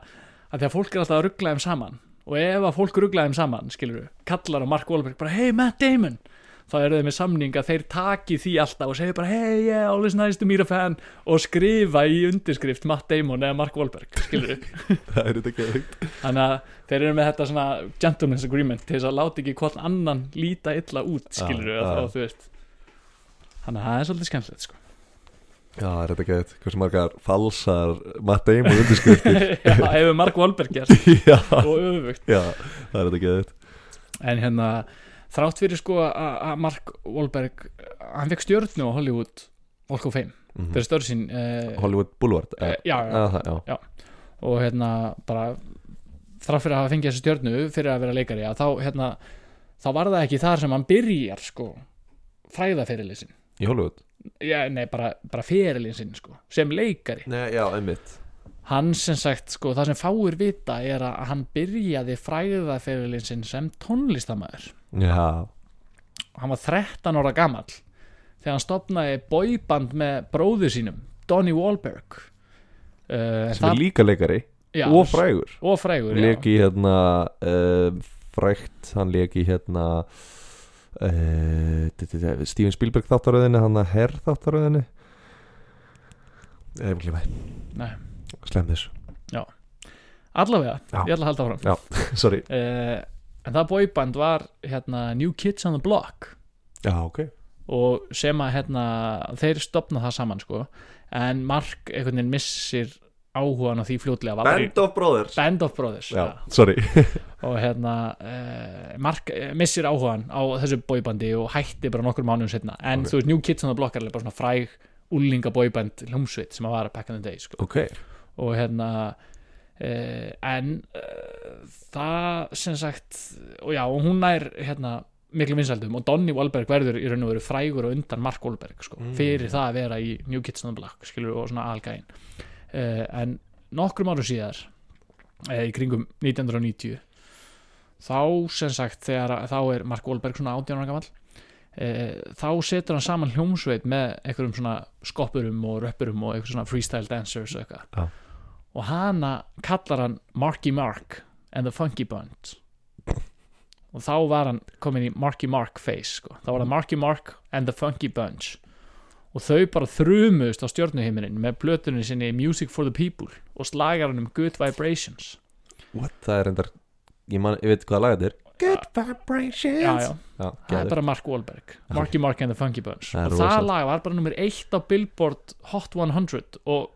að því að fólk er alltaf að ruggla þeim saman Og ef að fólk ruggla þeim saman, skilur Kallar á Mark Wahlberg bara, hey Matt Damon Þá eru þau með samning að þeir taki því alltaf og segja bara, hey yeah, always nice to meet a fan Og skrifa í undirskrift Matt Damon eða Mark Wahlberg, skilur Það er þetta ekki veikt þannig að þeir eru með þetta svona gentleman's agreement til þess að láta ekki hvort annan líta illa út skilur við Já, já. þá þú veist þannig að það er svolítið skemmtilegt sko Já, það er þetta ekki veikt Hversu margar falsar Matt Damon undirskriftir já, ef við Mark Wahlberg gert Já, og öfugt já, það er þetta ekki veikt en hérna þrátt fyrir sko að að Mark Wahlberg hann fekk stjórnu á Hollywood Walk of Fame Mhm. fyrir störð sín eh, Hollywood Boulevard eh, eh, já, já, Já, það- já, og hérna bara þrátt fyrir að hafa fengið þessi stjörnu fyrir að vera leikari að þá hérna þá var það ekki þar sem hann byrjar sko fræðaferilið sinn í Hollywood já, nei, bara, bara ferilinn sinn sko, sem leikari Nei, já, einmitt hann sem sagt, sko, það sem fáir vita er að hann byrjaði fræðaferilinn sinn sem tónlistamæður Já, hann var 13 ára gamall þegar hann stopnaði boyband með bróðu sínum, Donny Wahlberg uh, sem er líka leikari já, og frægur og frægur já. Leki hérna uh, frækt, hann leki hérna uh, Steven Spielberg þáttaröðinni, hann að herr þáttaröðinni Ég hef ekki Nei. Slem þess allavega, Já. ég ætla að halda áfram Sorry uh, en það boyband var hérna New Kids on the Block Já, ok og sem að hérna, þeir stopna það saman sko en Mark einhvern veginn missir áhugan á því fljótlega var aldrei- of Brothers Band of Brothers Já, sorry og hérna uh, Mark eh, missir áhugan á þessu boybandi og hætti bara nokkur mánuðum setna en Ok. þú veist New Kids on the Block er alveg bara svona fræg úlinga boyband hljómsveit sem að vara back in the day sko Ok og hérna uh, en uh, það sem sagt og já, og hún nær hérna miklu vinsældum og Donny Wahlberg verður í raun og veru frægur og undan Mark Wahlberg sko, Mm. fyrir það að vera í New Kids on the Block skilur og svona algæin uh, en nokkrum árum síðar uh, í kringum 1990 þá sem sagt þegar að- þá er Mark Wahlberg svona 18 ára gamall eh, þá setur hann saman hljómsveit með einhverjum svona skoppurum og röppurum og einhverjum svona freestyle dancers og Já. eitthvað og hana kallar hann Marky Mark and the Funky Band og þá var hann komin í Marky Mark face sko. þá var það Marky Mark and the Funky Bunch og þau bara þrumuðust á stjórnuhiminin með blötunni sinni Music for the People og slagaranum Good Vibrations What? Það er endar Ég, man, ég veit hvað laga þetta er Good Vibrations já, já, Já, það er geðveikt. bara Mark Wahlberg Marky Mark and the Funky Bunch Það er og það rosalegt. lag var bara nummer eitt á Billboard Hot 100 og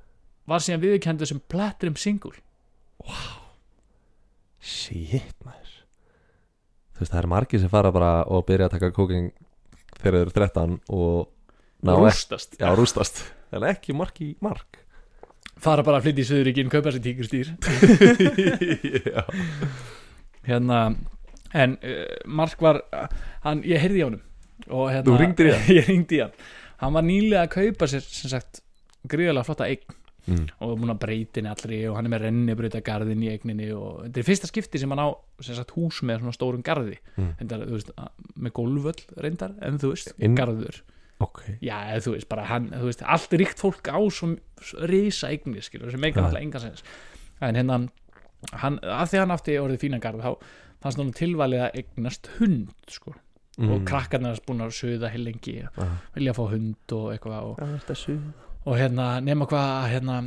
var síðan viðurkendur sem platinum single Shit, maður Þú veist, það er margir sem fara bara og byrja að taka kóking þegar þau eru 13 og ná og ekki, rústast, já, rústast en ekki mark í mark fara bara að flytja í Suðuríkin kaupa sér tíkurstýr Já hérna, en uh, Mark var hann, ég heyrði í honum og hérna, Þú hringdir í hann? ég hringdi í hann hann var nýlega að kaupa sér sem sagt gríðarlega flotta eign mm. og er búin að breyta henni allri og hann er með rennibrauta garðin í eigninni og þetta er fyrsta skipti sem hann á sem sagt, hús með svona stórum garði Mm. reyndar, þú veist, að- með gólvöll reyndar en þú veist, Inn- garður Ok já, eða þú veist, bara hann, þú veist, allt ríkt fólk á svo svo risa eignir, skilur sem meika Já. alltaf enga sens en hérna, hann, að því hann átti orðið fínan garð, þá fannst hann tilvalið að eignast hund, sko Mm. og krakkarnir hans búin að söða heil lengi Já. vilja fá hund og eitthvað og þessu og hérna nema hvað hérna,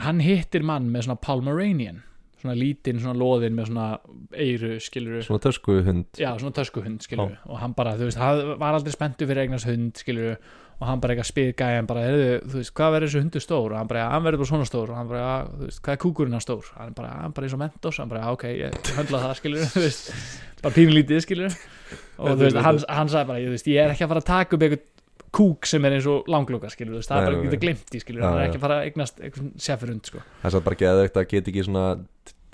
hann hittir mann með svona Palmeranian svona lítinn svona loðin með svona eiru skiluru Svona tösku hund já svona töskuhund skiluru og hann bara þú veist hann var aldrei spenntu fyrir eignast hund skiluru og hann bara eitthvað spyr gæjan bara heyrðu, þú veist hvað verður þessu hundu stór og hann bara hann verður bara svona stór og hann bara "Já, þú veist hvað er kúkurinn hann stór hann bara hann bara eins og mentos hann bara "Já, ok ég höndla það skiluru þú veist bara pínlítið skiluru og þú veist hann, hann sagði bara ég, þú veist, ég er ekki að fara að taka upp eitthvað kúk sem er eins og langlóka skilur þú veist, það er Nei, bara nei, ekki nei. glimt í skilur Já, hann er já. ekki að fara að eignast eitthvað sefirund sko. Það er satt bara geðveikt að geta ekki svona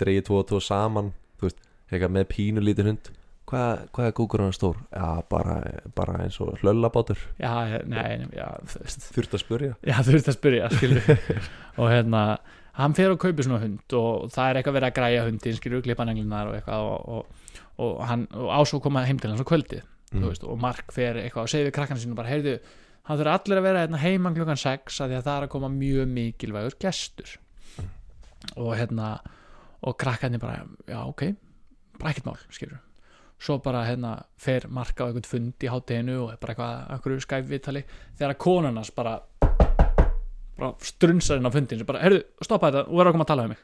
dreigið tvo og tvo saman þú veist, eitthvað með pínu lítið hund Hvað, hvað er kúkur hann stór? Já, bara, bara eins og hlöllabátur já, nei, nei, já, þú veist Þurft að spurja já, þú veist að spyrja skilur og hérna, hann fer og kaupir svona hund og það er eitthvað verið að græja hundin skilur, klippa neglunar og eitthvað og, og, og, hann, og ásvo koma heim til hans á kvöldi þú veist, og Mark fer eitthvað og segir við krakkan sínu bara, heyrðu, hann þurfa allir að vera hérna heima klukkan 6 að því að það er að koma mjög mikilvægur gestur og hérna og krakkarnir bara, já ok bara ekkert mál, skilur svo bara hérna fer Mark á einhvern fund í hátteginu og er bara eitthvað einhverju skæfvitali þegar konan hans bara bara strunsar inn á fundin sem bara, heyrðu, stoppa þetta, þú verður að koma að tala um mig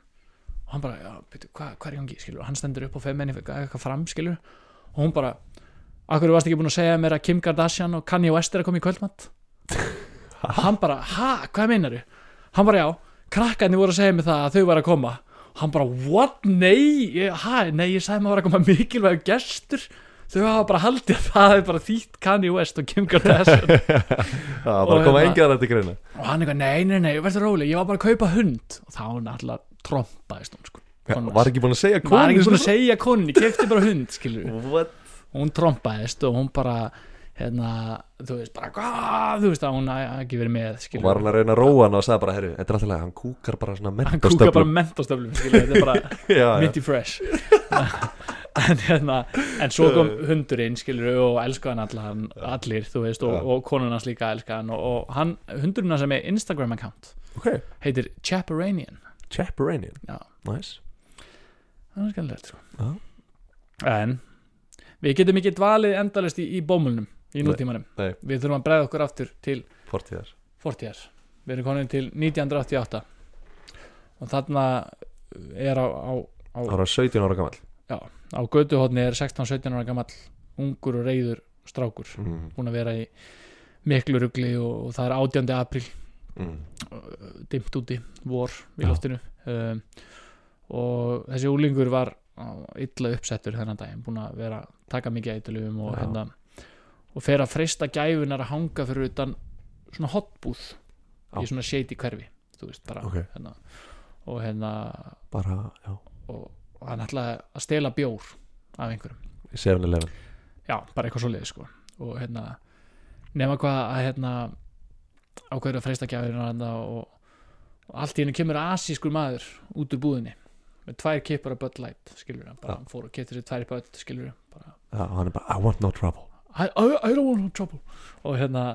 og hann bara, já, byrju, hvað hva er í gangi, skilur og hann stendur upp á feminni, eitthvað fram, skilur og hún bara, akkur varst ekki búin að segja mér að Kim Kardashian og Kanye West er að koma í kvöldmatt og hann bara, ha, hvað meinar þau hann bara, já, krakkarnir voru að segja mér það að þau var að koma og hann bara, what, nei, ég, ha, nei ég sagði maður að koma mikilvæg gestur þau hafa bara haldið að það er bara þýtt Kanye West og Kim Kardashian Já, bara Og koma hérna- engið að þetta greina og hann eitthvað, nei, nei, nei, verður róleg ég var bara að kaupa hund og þá náttúrulega trompaðist hún sko Konan Var ekki búin að segja hans. var ekki búin að svona- segja konni, kefti bara hund skilur What? og hún trompaðist og hún bara hérna, þú veist, bara hvað þú veist að hún hafi ekki verið með Og skilur var hann að reyna að róa hann og sagði bara, herru, þetta er alltaf að hann kúkar bara svona hann kúka bara mentostöflum mentostöflum skilur, þetta er bara Já, já, Minty Fresh en, hérna, en svo kom hundurinn skilur og elskaði hann allan, allir þú veist, og, Já. og konun hans líka elskaði hann og, og hann, hundurinn hans er með Instagram account ok heitir Chaperanian Chaperanian, Já. nice það er skemmtilegt sko. Já. en við getum ekki dvalið endalist í, í bómulnum í Nei, nútímanum, nei. við þurfum að bregða okkur aftur til Fortíðar fortíðar við erum konin til 1988 og þarna er á, á, á, Það var 17 ára gamall á göduhotni er 16-17 ára gamall ungur og reyður strákur mm. búin að vera í miklu rugli og, og það er 18. april Mm. dimmt úti, vor í Já. loftinu um, og þessi úlingur var á, illa uppsettur þennan daginn, búin að vera taka mikið eitthulum og Já. hérna og fer að freista gæfunar að hanga fyrir utan svona hotbúð Já. í svona shady hverfi þú veist, bara, Ok. hérna, og hérna Bara, já, og, og hann ætlaði að stela bjór af einhverjum 7-11 já, bara eitthvað svoleiði sko og hérna, nema hvað að hérna ákveður að freista gjafirinn hérna, og, og allt í hennu kemur asískur maður út úr búðinni með tvær kippar af Bud Light, skilur hann bara Já. hann fór og getur sér tvær í Bud, skilur hann bara Já, og hann er bara, I want no trouble I, I, I don't want no trouble og hérna,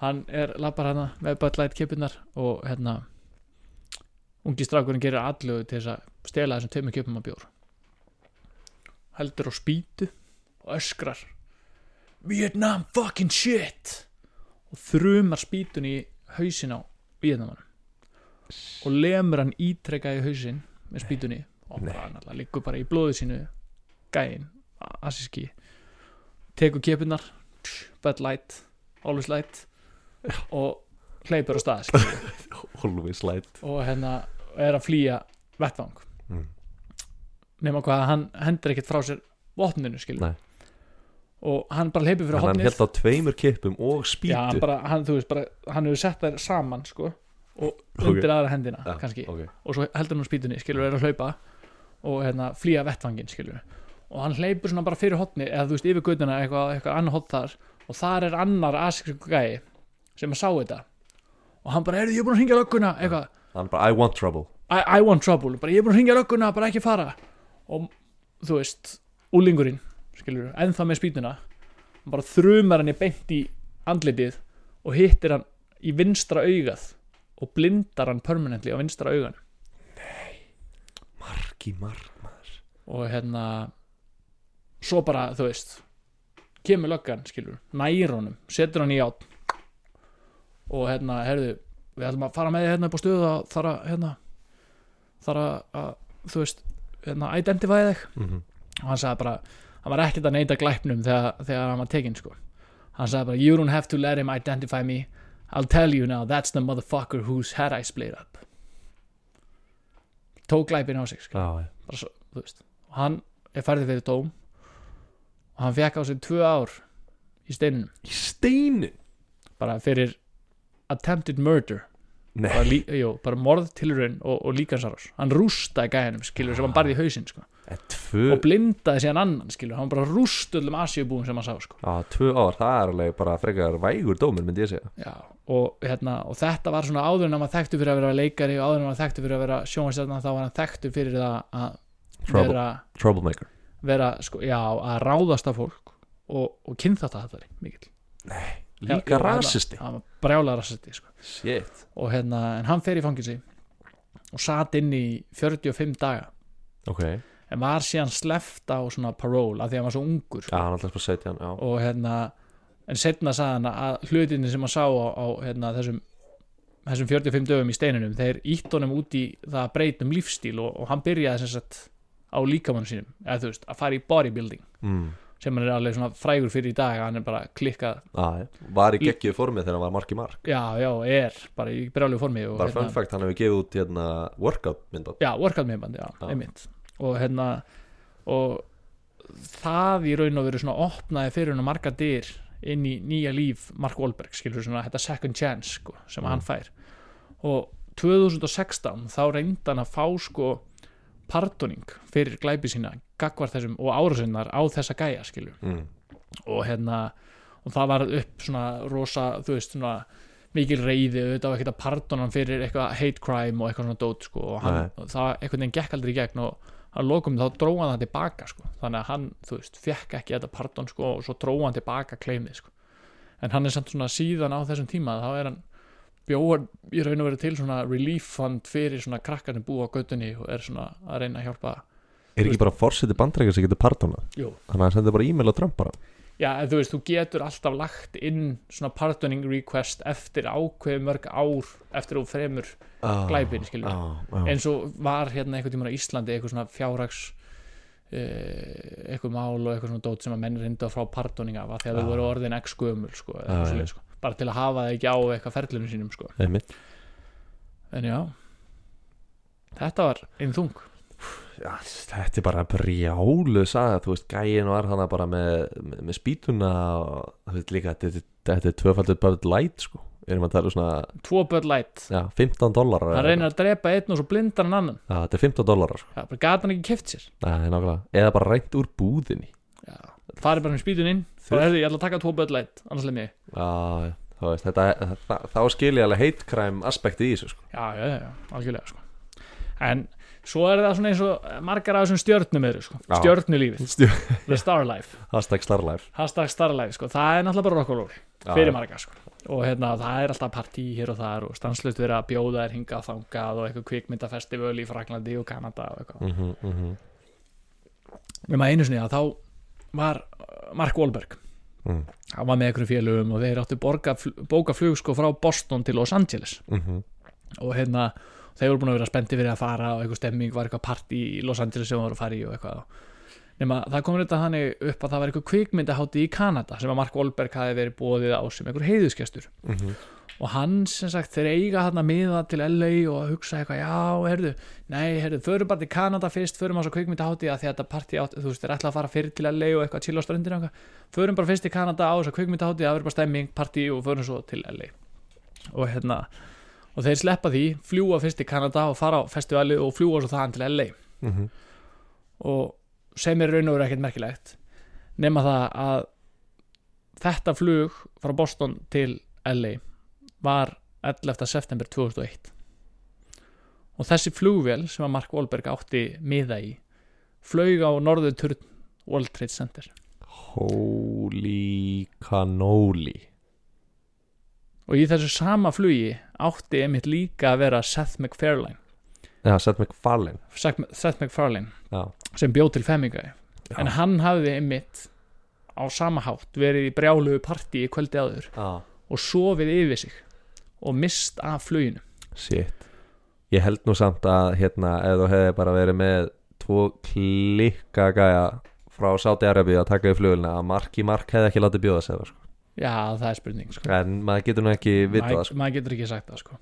hann er lappar hana með Bud Light kippinnar og hérna ungi strákurinn gerir allugu til þess að stela þessum tveimur kippum af bjór heldur á spýtu og öskrar Vietnam fucking shit og þrumar spýtun í hausin á Vietnamanum og lemur hann ítrekka í hausin með spýtunni og Nei. bara náttúrulega liggur bara í blóðu sínu gæin, assíski tekur kepinnar Bud Light, Always Light og hleypur á stað skilur. Always light og hérna er að flýja vettvang Mm. nema hvað hann hendur ekkert frá sér vopninu skilur Nei. og hann bara hleypur fyrir Þannig hann hopnið held á tveimur kippum Já, hann, og spýtu bara, hann, þú veist, bara, hann hefur sett þær saman sko, og Ok. undir aðra hendina kannski, okay. og svo heldur hann á spýtunni skilur, er að hlaupa og hérna, flýja vettvangin skilur, og hann hleypur svona bara fyrir hotni, eða þú veist, yfir göttuna eitthvað, eitthvað annað hot þar, og þar er annar asiksku gæi sem að sá þetta og hann bara, heyrðu, ég er búin að hringja lögguna eitthvað, Hann bara, I want trouble I, I want trouble bara ég er búin að hringja lögguna, bara ekki fara og þú veist, úlingurinn skilur, ennþá með spýtuna hann bara þrumar henni beint í andlitið og hittir hann í vinstra augað og blindar hann permanently á vinstra augan Marki, mark, maður og hérna svo bara, þú veist kemur löggan, skilur, nær honum setur hann í át og hérna, herðu, við ætlum að fara með þig hérna upp á stöðu og þar að hérna, þar að, að þú veist, hérna, identifæði þig mm og hann sagði bara hann var ekkert að neyta glæpnum þegar, þegar hann var tekinn sko. hann sagði bara you don't have to let him identify me I'll tell you now that's the motherfucker whose head I split up tók glæpin á sig sko. Já, já. bara svo, þú veist og hann er færðið fyrir dóm og hann fekk á sig tvö ár í steinunum Í steinu bara fyrir attempted murder Nei, bara, lí, jó, bara morð tilurinn og, og líkansarás hann rústaði gæðinum skilur sem hann barði í hausinn sko. en tvö og blindaði síðan annan skilur hann bara rúst öllum asíubúum sem hann sá sko. Já, tvö ár, það er alveg bara frekar vægur dómur, myndi ég segja Já, og, hérna, og þetta var svona áður en hann var þekktu fyrir að vera leikari og áður en hann var þekktu fyrir að vera sjónvæmstjarnan þá var hann þekktu fyrir það að Trouble. vera, Troublemaker vera sko, já, að ráðast af fólk og, og kynþátt að þetta er mikill Líka rasisti hann var brjála rasisti sko. Shit og hérna, en hann fer í fangilsi og sat inn í 45 daga Ok Já, en var síðan sleft á svona paról af því að hann var svo ungur sko. hann alltaf bara 17, já og hérna en setna sagði hann að hlutinni sem hann sá á, á hérna, þessum þessum 45 dögum í steininum þeir ítt honum út í það að breyta um lífstíl og, og hann byrjaði sem sagt á líkamann sínum, eða þú veist, að fara í bodybuilding mm. sem hann er alveg svona frægur fyrir í dag hann er bara klikkað, ah, Var í geggjöðu formið þegar hann var marki mark já, já, er bara í brjálegu formi og hérna- Bara fun fact, hann hefur gefið út hérna workout myndband já, workout meðbandi, já, Já. einmitt og hérna og það í raun og veru svona opnaði fyrir hann marga dyr inn í nýja líf Mark Wahlberg, skilur svona þetta second chance sko, sem Mm. hann fær og 2016 þá reyndi hann að fá sko pardoning fyrir glæpi sína gagvar þessum og árasinnar á þessa gæja skilur mm. og hérna og það var upp svona rosa þú veist svona mikil reyði auðvitað var ekkert að pardona hann fyrir eitthvað hate crime og eitthvað svona dót sko og hann, og það einhvern veginn gekk aldrei í gegn og að lokum þá dróð hann það tilbaka sko þannig að hann þú veist fekk ekki þetta pardon sko og svo dróð hann tilbaka kleimið sko en hann er samt svona síðan á þessum tíma þá er hann bjóðar í raun og verið til svona relief fund fyrir svona krakkar sem búa á göttunni og er svona að reyna að hjálpa Er ekki bara forseti bandrækja sem getur pardonað Jú. Þannig að hann sendur bara e-mail á Trump bara já, en þú veist, þú getur alltaf lagt inn svona pardoning request eftir ákveð mörg ár eftir þú fremur Ah, glæpin, skilur við. ah, já. eins og var hérna einhvern tímann á Íslandi eitthvað svona fjárhags eh, eitthvað mál og eitthvað svona dót sem að menn reynda frá pardoninga af að þegar Já. þau voru orðin x gömul sko, eða Já, eitthvað já. svoleiðis, sko. bara til að hafa það ekki á eitthvað ferlunum sínum sko. Einmitt. en já þetta var einn þung Já, þetta er bara brjálu saga, þú veist, gæin var hana bara með, með, með spýtuna og þú veist líka, þetta, þetta er tvöfaldur bara light, sko, við erum að tala um svona tvo Bud Light, já, 15 dólarar hann reynir að drepa einn og svo blindar hann annan, Já, þetta er 15 dólarar, sko, já, bara gata hann ekki keft sér það er nákvæmlega eða bara reynt úr búðinni já, farið bara með spýtun inn Þurr. bara herði, ég ætla að taka tvo Bud Light, annars leið mig Já, já, þú veist, þetta, það, þá skil ég alveg heitkræm aspekti í þessu, sko já, já, já, já, algjörlega sko. en svo er það svona eins og margar af þessum stjörnum eru sko. Já. stjörnulífið, Stjórn, the star life hashtag starlife hashtag star life, sko. það er náttúrulega bara rockaról fyrir marga sko. og hérna, það er alltaf partí hér og þar og stanslust verið að bjóða þær hingað þangað og eitthvað kvikmyndafestival í Fraklandi og Kanada og eitthvað mm -hmm, mm -hmm. nema einu sinni að þá var uh, Mark Wahlberg Mm. hann var með einhverjum félögum og þeir áttu borga, bóka flug sko frá Boston til Los Angeles mhm, og hérna þeir voru búin að vera spennti fyrir að fara og eitthvað stemming var eitthvað partí í Los Angeles sem voru að fara í og eitthvað nema það komur þetta þannig upp að það var eitthvað kvikmyndahátti í Kanada sem að Mark Olberg hafi verið bóðið á sem einhver heiðuskestur mhm, og hann sem sagt þeir eiga þarna miða til LA og hugsa eitthvað já, herðu, nei, herðu, förum bara til Kanada fyrst, förum á svo kvikmyndahátti að því að þetta partí átt, þú veist, þeir ætla að fara fyrir til LA og eitthvað chill á ströndinu og eitthvað, förum bara fyrst til Kanada á svo kvikmyndahátti, það verður bara stemming, partí og förum svo til LA og hérna, og þeir sleppa því, fljúa fyrst til Kanada og fara á festivalið og fljúa svo þaðan til LA mhm. og sem er raun og verið ekkert merkilegt nema það að þetta flug frá Boston til LA var 11. september 2001 og þessi flugvél sem að Mark Wahlberg átti miða í flög á norður turn World Trade Center Holy cannoli og í þessu sama flugi átti einmitt líka að vera Seth MacFarlane Já, Seth MacFarlane Seth Seth MacFarlane Já, sem bjóð til Femmingau en hann hafði einmitt á sama hátt verið í brjálugu partí í kvöldi áður já. og sofið yfir sig og mist af fluginu Shit Ég held nú samt að hérna ef þú hefði bara verið með tvo klikka gæja frá Sáti Arabíu að taka í flugulina að Mark í Mark hefði ekki látið bjóða sig það, sko. já það er spurning sko. en maður getur nú ekki vitað það, sko. maður, maður getur ekki sagt það sko.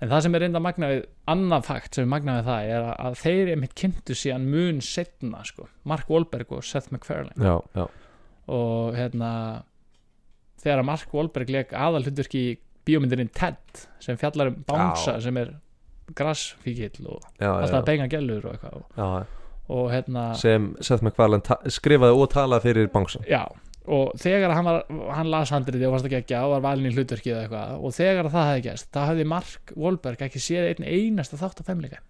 en það sem er reynda magna við annað fakt sem er magna við það er að, að þeir einmitt kynntu síðan mun setna sko. Mark Wahlberg og Seth MacFarlane sko. Já, já, og hérna þegar að Mark Wahlberg leik aðal hlutverki í bíómyndurinn Ted sem fjallar um Bánsa sem er grassfíkil og já, alltaf að já, benga gælur og eitthvað og, já, já. og hérna sem Seth MacFarlane ta- skrifaði og talaði fyrir bánsan já og þegar hann, var, hann las handriði og fannst ekki ekki og var valin í hlutverkið eða eitthvað og þegar það hefði gerst, það hefði Mark Wahlberg ekki séð einn einasta þátt af femleika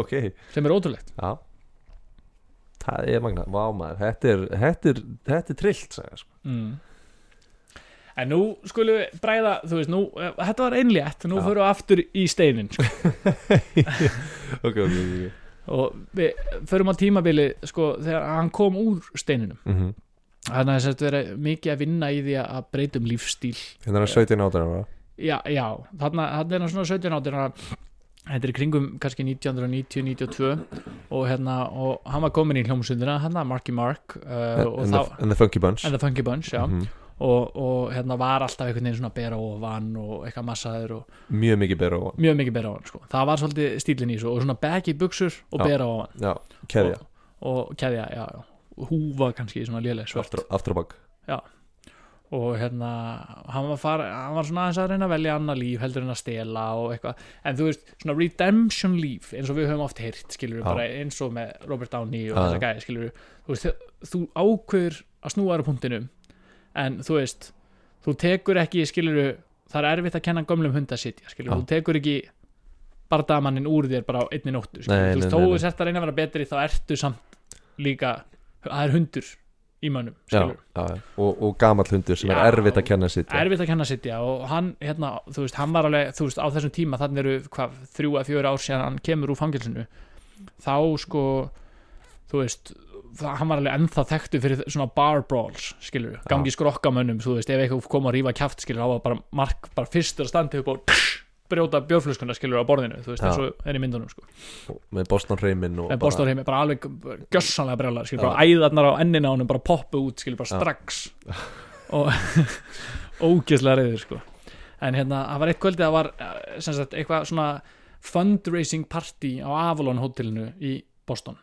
Ok, sem er ótrúlegt já Það er magna, vá maður Þetta er, þetta er, þetta er trillt sagði, ég, sko. mm. en nú skulum við bræða þú veist, nú, eh, þetta var einlétt nú Já. förum við aftur í steinin sko. Ok, ok, ok og við förum á tímabili sko, þegar hann kom úr steininum mm -hmm. þannig að þetta verið mikið að vinna í því að breyta um lífstíl Hérna er 17 áttan ára já, já þarna, þarna er hann svona 17 áttina þetta er í kringum kannski 1990-92 og hérna og hann var komin í hljómsundina hérna Marky Mark uh, og and, þá the, and the Funky Bunch and the Funky Bunch, já Mhm. og, og hérna var alltaf einhvern veginn svona bera og vann og eitthvað massaður og Mjög mikið bera og mjög mikið bera ofan sko. það var svolítið stílinn í þessu og svona baggy buksur og Já. bera ofan Já, keðja og, og keðja, já, já húfa kannski svona léleg svört aftur, aftur á bak og hérna hann var, far, hann var svona aðeins að reyna að velja annað líf heldur en að stela og eitthvað en þú veist, svona redemption líf eins og við höfum oft heyrt, skilur við, Já. bara eins og með Robert Downey og Já, þessa gæði, skilur við þú, veist, þú ákveður að snúa þér á punktinum en þú veist þú tekur ekki, skilur við það er erfitt að kenna gömlum hund að sitja, skilur Já. við þú tekur ekki bardamannin úr þér bara á einni nóttu, skilur Nei, við, þú veist, nei, nei, þó nei. þú sért að reyna að vera betri þá ertu samt líka það er hundur í mönnum, já, skilur já, já. og, og gamall hundur sem Já. er erfitt að kenna sitt erfitt að kenna sitja og hann, hérna, þú veist, hann var alveg, þú veist, á þessum tíma, þannig eru hvað, þrjú að fjögur ár síðan hann kemur úr fangilsinu þá sko þú veist það, hann var alveg ennþá þekktu fyrir svona bar brawls skilur, gangi skrokkamönnum þú veist, ef eitthvað kom að rífa kjaft skilur þá var bara mark, bara fyrstur að standa upp og brjóta bjórflöskuna skilur á borðinu þú veist, Já. eins og er í myndunum sko með Boston Reimin og en bara- Boston heimi, bara alveg gjössanlega brjálar skilur, Já. bara æðarnar á ennina á honum bara poppu út, skilur, bara Já. strax og ógeðslega reyður sko en hérna, það var eitt kvöldi það var eh, sem sagt, eitthvað svona fundraising party á Avalon hótelinu í Boston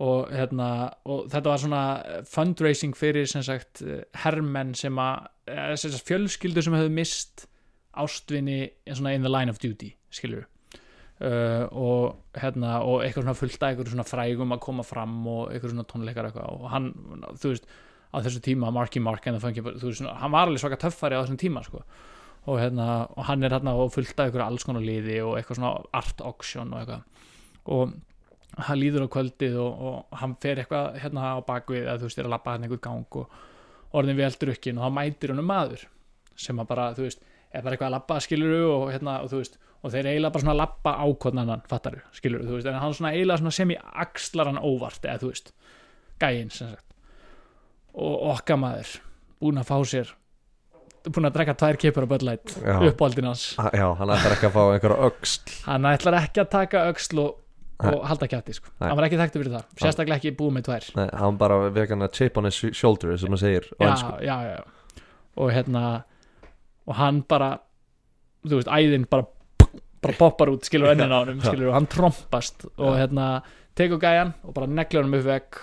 og, hérna, og þetta var svona eh, fundraising fyrir sem sagt eh, hermenn sem að eh, sem sagt, fjölskyldu sem höfðu mist ástvinni svona in the line of duty skilur Uh, og hérna og eitthvað svona fullt af eitthvað svona frægum að koma fram og eitthvað svona tónleikar eitthvað og hann, þú veist, á þessu tíma Marky Mark en það fengi, þú veist, svona, hann var alveg svaka töffari á þessum tíma, sko og hérna, og hann er hérna og fullt af eitthvað alls konar liði og eitthvað svona art auction og eitthvað og hann líður á kvöldið og, og hann fer eitthvað hérna á bakvið að þú veist, er að labba hann einhver gang og orðin vel drukkin og þá mætir hann maður sem að bara, þú veist, er bara eitthvað að labba skiluru og hérna, og þú veist og þeir eiginlega bara svona labba á hvern annan fattaru, skiluru, þú veist, en hann svona eiginlega svona sem í axlar hann óvart, eða þú veist gæinn, sem sagt og okka maður, búin að fá sér búin að drekka tvær kipur á böllætt, Já. uppáldin hans Ah, já, hann ætlar ekki að fá einhverja öxl hann ætlar ekki að taka öxl og, og halda kjátti, sko, Nei. hann var ekki þekktu fyrir það sérstaklega ekki búið með tvær Nei, hann bara vegan að chip on his shoulder sem hann segir á já, ensku. já, já. og hérna og hann bara þú veist, æðin bara bara poppar út, skilur ennin á honum skilur, og hann trompast og hérna tekur gæjan og bara neglir honum upp vekk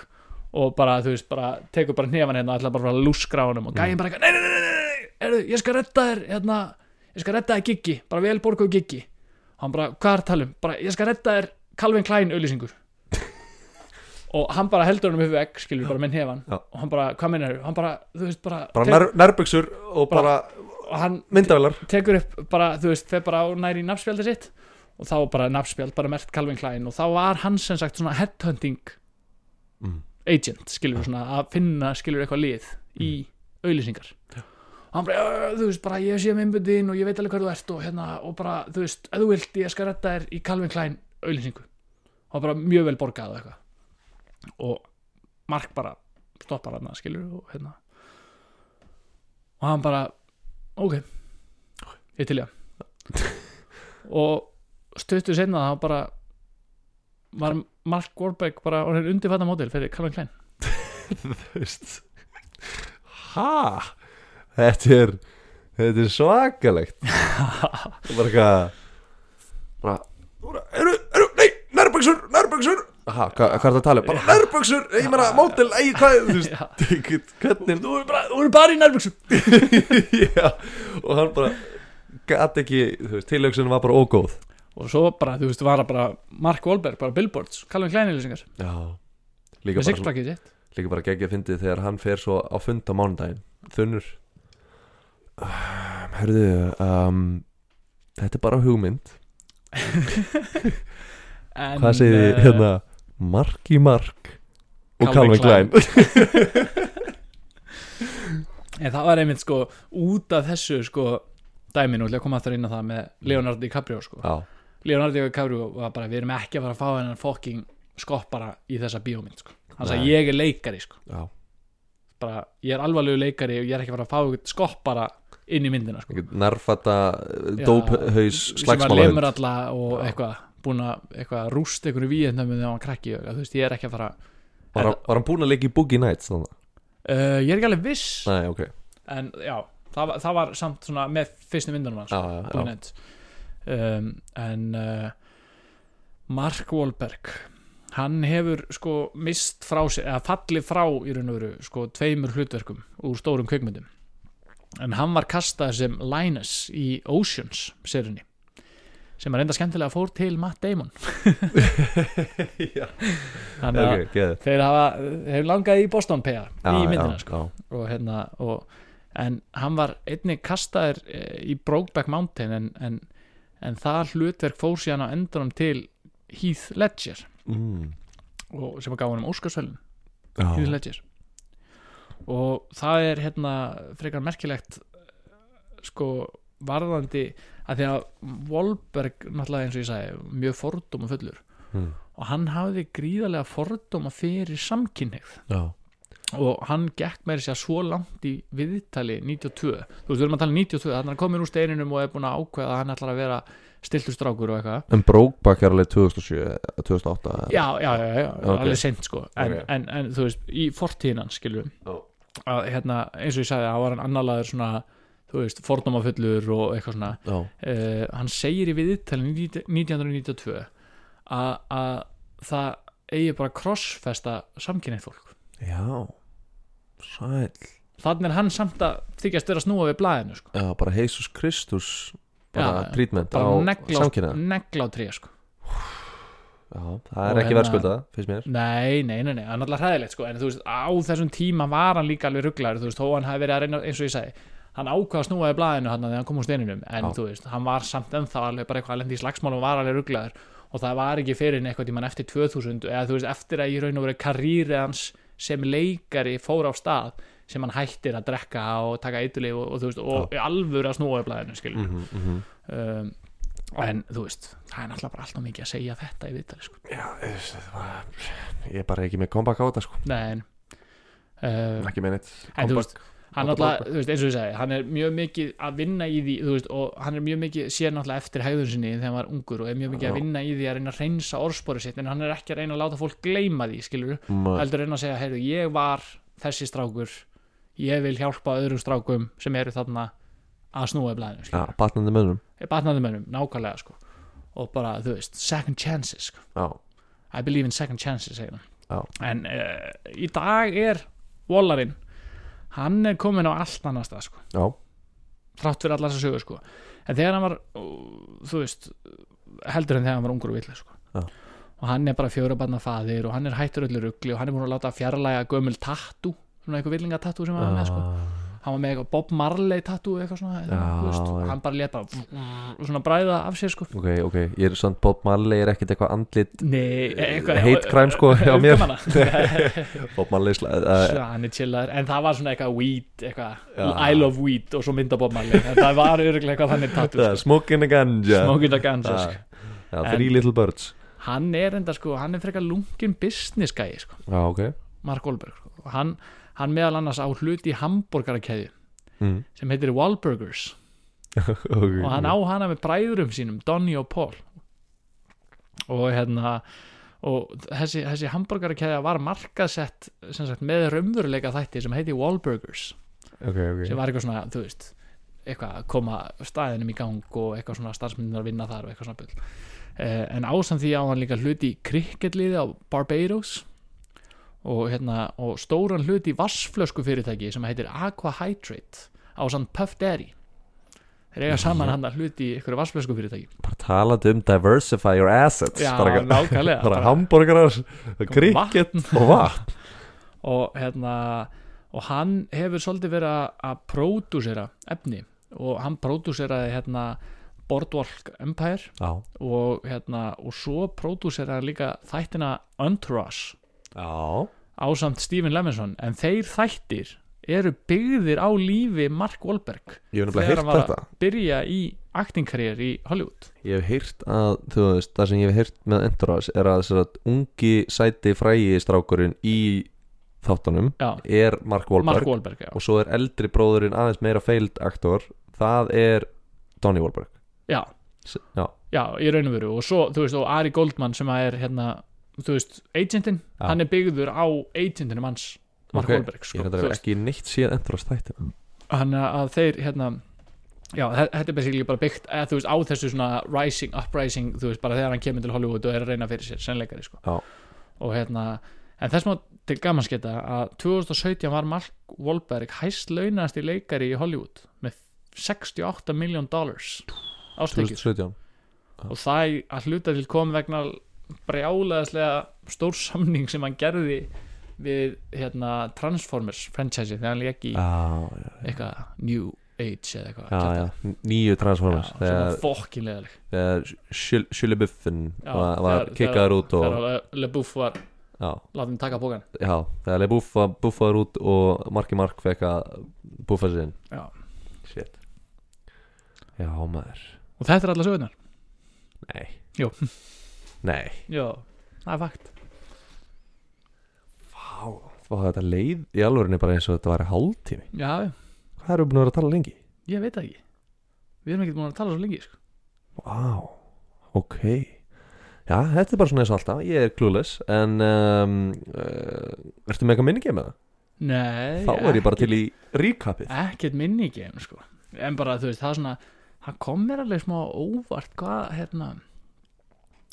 og bara, þú veist, bara tekur bara nefann hérna og ætla bara að lúskra á honum og Mm. gæjan bara, eitthvað, nei, nei, nei, nei, nei, nei heyrðu, ég skal redda þér, hérna ég skal redda þér giggi, bara vel borguðu giggi og hann bara, hvað er talum, um?" bara ég skal redda þér Calvin Klein auðlýsingur og hann bara heldur honum upp vekk skilur bara með nefann Já. og hann bara, hvað meinar hann bara, þú veist, bara, bara nær, nærbuxur og bara, og hann myndavilar tekur upp bara, þú veist, fer bara á næri nafnspjaldið sitt og þá var bara nafnspjald, bara mert Calvin Klein og þá var hann sem sagt svona headhunting Mm. agent, skilur svona að finna, skilur eitthvað lið í auðlýsingar og hann bara, "Ö, þú veist, bara ég sé um einbundin og ég veit alveg hver þú ert og hérna, og bara, þú veist, ef þú vilt ég skal retta þér í Calvin Klein auðlýsingu og bara mjög vel borgað og eitthvað og Mark bara stoppar hann, skilur og hérna og hann bara, ok ég til ég og stuttu senna þá bara var Mark Warbeck bara og hann er undirfatna mótil fyrir Calvin Klein veist ha þetta er þetta er svakalegt Og bara eitthvað bara, bara eru, eru, nei, nærböksur, nærböksur ha, hva, hvað er það að tala um, bara nærböksur ég meina, mótel, ei, hvað þú veist, ekkert, hvernig þú eru bara, þú eru bara í nærbuxum já, og hann bara gat ekki, þú veist, tilöksunum var bara ógóð og svo bara, þú veist, var það bara Mark Wahlberg, bara billboards, Calvin Klein ylisingar já, með líka bara, svona- sixpackið sitt líka bara geggja fyndið þegar hann fer svo á fund á mánudaginn, þunnur um, herðu um, þetta er bara hugmynd En, hvað segir þið, eh, hérna mark í mark og um Calvin Calvin Klein en það var einmitt sko út af þessu sko dæminu, ætla að koma aftur inn á það með Leonardo DiCaprio sko já, Leonardo DiCaprio var bara, við erum ekki að fara að fá hennan fokking skoppara í þessa bíómynd sko. hann Nei. sagði, ég er leikari sko já, bara, ég er alvarlegu leikari og ég er ekki að fara að fá eitthvað skoppara inn í myndina sko. einhvern nærfata Já, dóphaus sem að lemur slagsmála alla og eitthvað búin að eitthvað rúst einhverju víðnömmu þegar hann krakki og eitthvað, þú veist, ég er ekki að fara var, hann- var hann búinn að leika í Boogie Nights þannig? uh, ég er ekki alveg viss nei, ok en já, það var, það var samt svona með fyrstu myndunum hans já, já, Boogie já. Nights. um, en uh, Mark Wahlberg hann hefur sko mist frá sér, eða fallið frá í raun og veru sko tveimur hlutverkum úr stórum kveikmyndum en hann var kastað sem Linus í Oceans serunni sem að reynda skemmtilega fór til Matt Damon Já. þannig að ok, geðið þeir hafa, hefur langað í Boston P.A. í Já, myndina já, sko og hérna og, en hann var einnig kastaðir eh, í Brokeback Mountain en, en, en það hlutverk fór síðan á endanum til Heath Ledger já. Mm. og, sem að gá hann um Óskarsvölin já. Heath Ledger og það er hérna frekar merkilegt eh, sko varðandi að því að Wolberg náttúrulega eins og ég sagði mjög fordóma fullur Mm. og hann hafði gríðarlega fordóma fyrir samkynneigð já, og hann gekk með þess að segja svo langt í viðtali 92 þú veist, við erum að tala um 92, þannig að hann komin úr steininum og er búin að ákveða að hann ætlar að vera stiltur strákur og eitthvað en Brokeback er alveg 2007 eða 2008 eða- já, já, já, já, Ok. alveg sent sko en, Ok. en, en þú veist, í fortíðinan skilur Já. að hérna, eins og ég sagði, hann var hann annarlaður svona, þú veist, fordómafullur og eitthvað svona já, uh, hann segir í viðtalin 1992 að, að það eigi bara að krossfesta samkynnið fólk já sæl, þannig er hann samt að þykjast vera að snúa við blæðinu sko. já, bara Jesus Kristus bara Já, treatment á bara negla, samkynna á- negla á tré sko. já, það er Og ekki hérna- verðskuldað, finnst mér nei, nei, nei, nei, það er náttúrulega hræðilegt sko. en þú veist, á þessum tíma var hann líka alveg rugglaður, þú veist, þó hann hafi verið að reyna eins og ég segi, hann ákvað að snúa við blæðinu hann þegar hann kom úr steininum, en Já. þú veist hann var samt ennþá alveg bara eitthvað að lendi í slagsmálum og var alveg rugglaður og það var ekki fyrir en eitthvað tíman eftir 2000 eða þú veist, eftir að ég raun og verið karýri hans sem leikari fór á stað sem hann hættir að drekka og taka eitulif og, og þú veist, og í alvöru að snúa við blæðinu, skilur mhm, mhm um, en þú veist, það er náttúrulega bara alltaf mikið að segja þetta í viðtali sko. Já, þú veist, það var- ég er bara ekki með comeback á þetta sko Nei, en, um, ekki með neitt En þú veist, comeback. hann Átta náttúrulega, þú veist, eins og ég segi hann er mjög mikið að vinna í því þú veist, og hann er mjög mikið, sér náttúrulega eftir hegðun sinni þegar hann var ungur og er mjög mikið Já. að vinna í því að reyna að reynsa orðsporu sitt en hann er ekki að reyna að láta fólk gleyma því skilur, Ma- heldur reyna að segja heyrðu, ég var þessi strákur ég vil hjálpa öðrum strákum sem eru þarna að snúa í blæðinu Já, skilur, batnandi mönnum batnaði mönnum, nákvæmlega sko. og bara, þú veist, second chances sko. Já, I believe in second chances segir hann Já. en uh, í dag er Wallarinn hann er komin á allt annars það sko já, þrátt fyrir allar þessar sögur sko en þegar hann var, uh, þú veist heldur en þegar hann var ungur og vill sko. Já. og hann er bara fjóra barna faðir og hann er hættur öllu rugli og hann er búin að láta fjarlæga gömul tattu, svona eitthvað villinga tattu sem hann var með sko, Ah. hann var með eitthvað Bob Marley tattu eitthvað svona, Já, þú veist, já. hann bara leta svona bræða af sér sko ok, ok Ég er samt Bob Marley er ekkert eitthvað andlit Nei, eitthvað Hate crime, sko, hjá mér. mér Bob Marley slæð uh, Svo hann er chillar En það var svona eitthvað weed eitthvað, Já. I love weed og svo mynda Bob Marley En það var öruglega eitthvað þannig tattu uh, Smoking a ganja Smoking the guns Já. sko. Já, En- Three little birds Hann er enda sko, hann er frekar lungin business gæi sko, Já, ok Mark Wahlberg sko. Og hann, hann meðal annars á hluti í hambúrgarakeðju mm. sem heitir Wahlburgers okay. og hann á hana með bræðurum sínum Donny og Paul og hérna og þessi, þessi hambúrgarakeðja var markasett sem sagt, með raunveruleika þætti sem heiti Wahlburgers Ok, ok sem var eitthvað svona, þú veist eitthvað að koma staðinum í gang og eitthvað svona starfsmyndunar að vinna þar og eitthvað svona bull eh, en ásamt því á hann líka hluti í krikketliði á Barbados og hérna og stóran hluti í vassflösku fyrirtæki sem heitir Aqua Hydrate á samt Puff Daddy þeir eiga saman hann að hluti í einhverju vassflösku fyrirtæki Bara talandi um diversify your assets já, Bara, eitthvað- nákvæmlega bara bara- hamburgerar, kriket vatn. og vatn og hérna og hann hefur svolítið verið að- að pródúsera efni og hann pródúseraði hérna Boardwalk Empire Já, og hérna og svo pródúseraði hann líka þættina Entourage já ásamt Stephen Levinson en þeir þættir eru byggðir á lífi Mark Wahlberg Ég hef nefnilega þegar heyrt hann var þetta að byrja í actingkarriér í Hollywood Ég hef heyrt að, þú veist, það sem ég hef heyrt með Entourage er að, að ungi sæti frægi strákurinn í þáttunum Já, er Mark Wahlberg Mark Wahlberg já. og svo er eldri bróðurinn aðeins meira failed aktor það er Donnie Wahlberg já, S Já, já, í raun og veru og svo, þú veist, og Ari Goldman sem að er hérna, þú veist, agentinn Já. hann er byggður á agentinu manns Mark ok. Wahlberg sko, Ég hef þú þetta veist. ekki neitt síðan Entourage þættina hann að þeir hérna já, þe- þetta er basically bara byggt eða, þú veist, á þessu svona rising, uprising þú veist, bara þegar hann kemur til Hollywood og er að reyna fyrir sér sennleikari, sko Já. og hérna, en þess má til gamansketa að 2017 var Mark Wahlberg hæst launasti leikari í Hollywood með 68 million dollars ástekjur 2017 og það að hluta til kom vegna brjálaðislega stór samning sem hann gerði við hérna Transformers franchise þegar hann leik í Já, já, eitthvað New Age eða eitthvað já, já, nýju Transformers Já, sem var þegar- fokkinlega þegar Shirley Buffin Já, var, var þegar- kikkaður út og, þegar LeBouf var já, látið taka bókan já, þegar leið búfa, búfaður út og Marki Mark fekk að búfa sér inn Já. Shit Já, maður og þetta er alla sögurnar Nei Jú. Nei já. það er fakt Vá, vá þetta leið í alvörinni bara eins og þetta var hálftími já, já, Hvað erum við búin að vera að tala lengi? ég veit það ekki við erum ekkert múin að tala svo lengi sko. Vá, ok Já, þetta er bara svona eins og alltaf, ég er clueless En um, uh, Ertu með eitthvað minningi með það? nei, e- Þá er ég bara til í recapið ekkert minni game sko. en bara þú veist það er svona það kom mér alveg smá óvart hvað hérna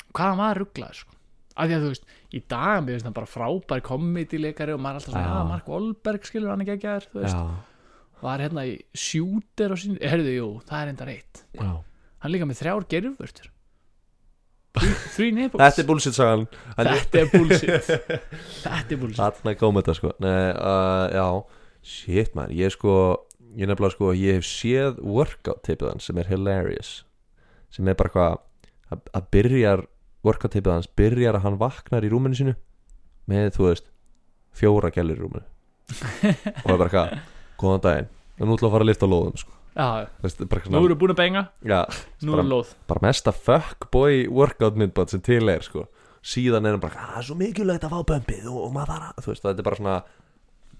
hvað hann var rugglað sko. af því að þú veist í dag mér finnst hann bara frábær komedileikari og maður er alltaf svona Já. ja. Mark Wahlberg skilur hann ekki að gera þú veist Já, var hérna í sjúter og sín herðu jú það er enda reitt já hann er líka með þrjár gerfvörtur þrjú nefnbúls Þetta er bullshit sagan þetta er bullshit þetta er bullshit Þarna kom þetta sko Nei, uh, Já, shit man Ég sko, ég nefnilega sko Ég hef séð workout tipið hans sem er hilarious Sem er bara hvað að- Að byrjar workout tipið hans Byrjar að hann vaknar í rúminu sínu Með, þú veist, fjóra gælur í rúminu Og er bara hvað Góðan daginn, en nú ætla að fara að lifta lóðum sko. já, Þú veist, bara, nú svona, eru búin að benga já, nú Bara- eru lóð bara mesta fuckboy workout myndband sem til er sko. síðan er hann bara, það er svo mikilvægt að fá bömpið og, og maður þarf að, þú veist, þetta er bara svona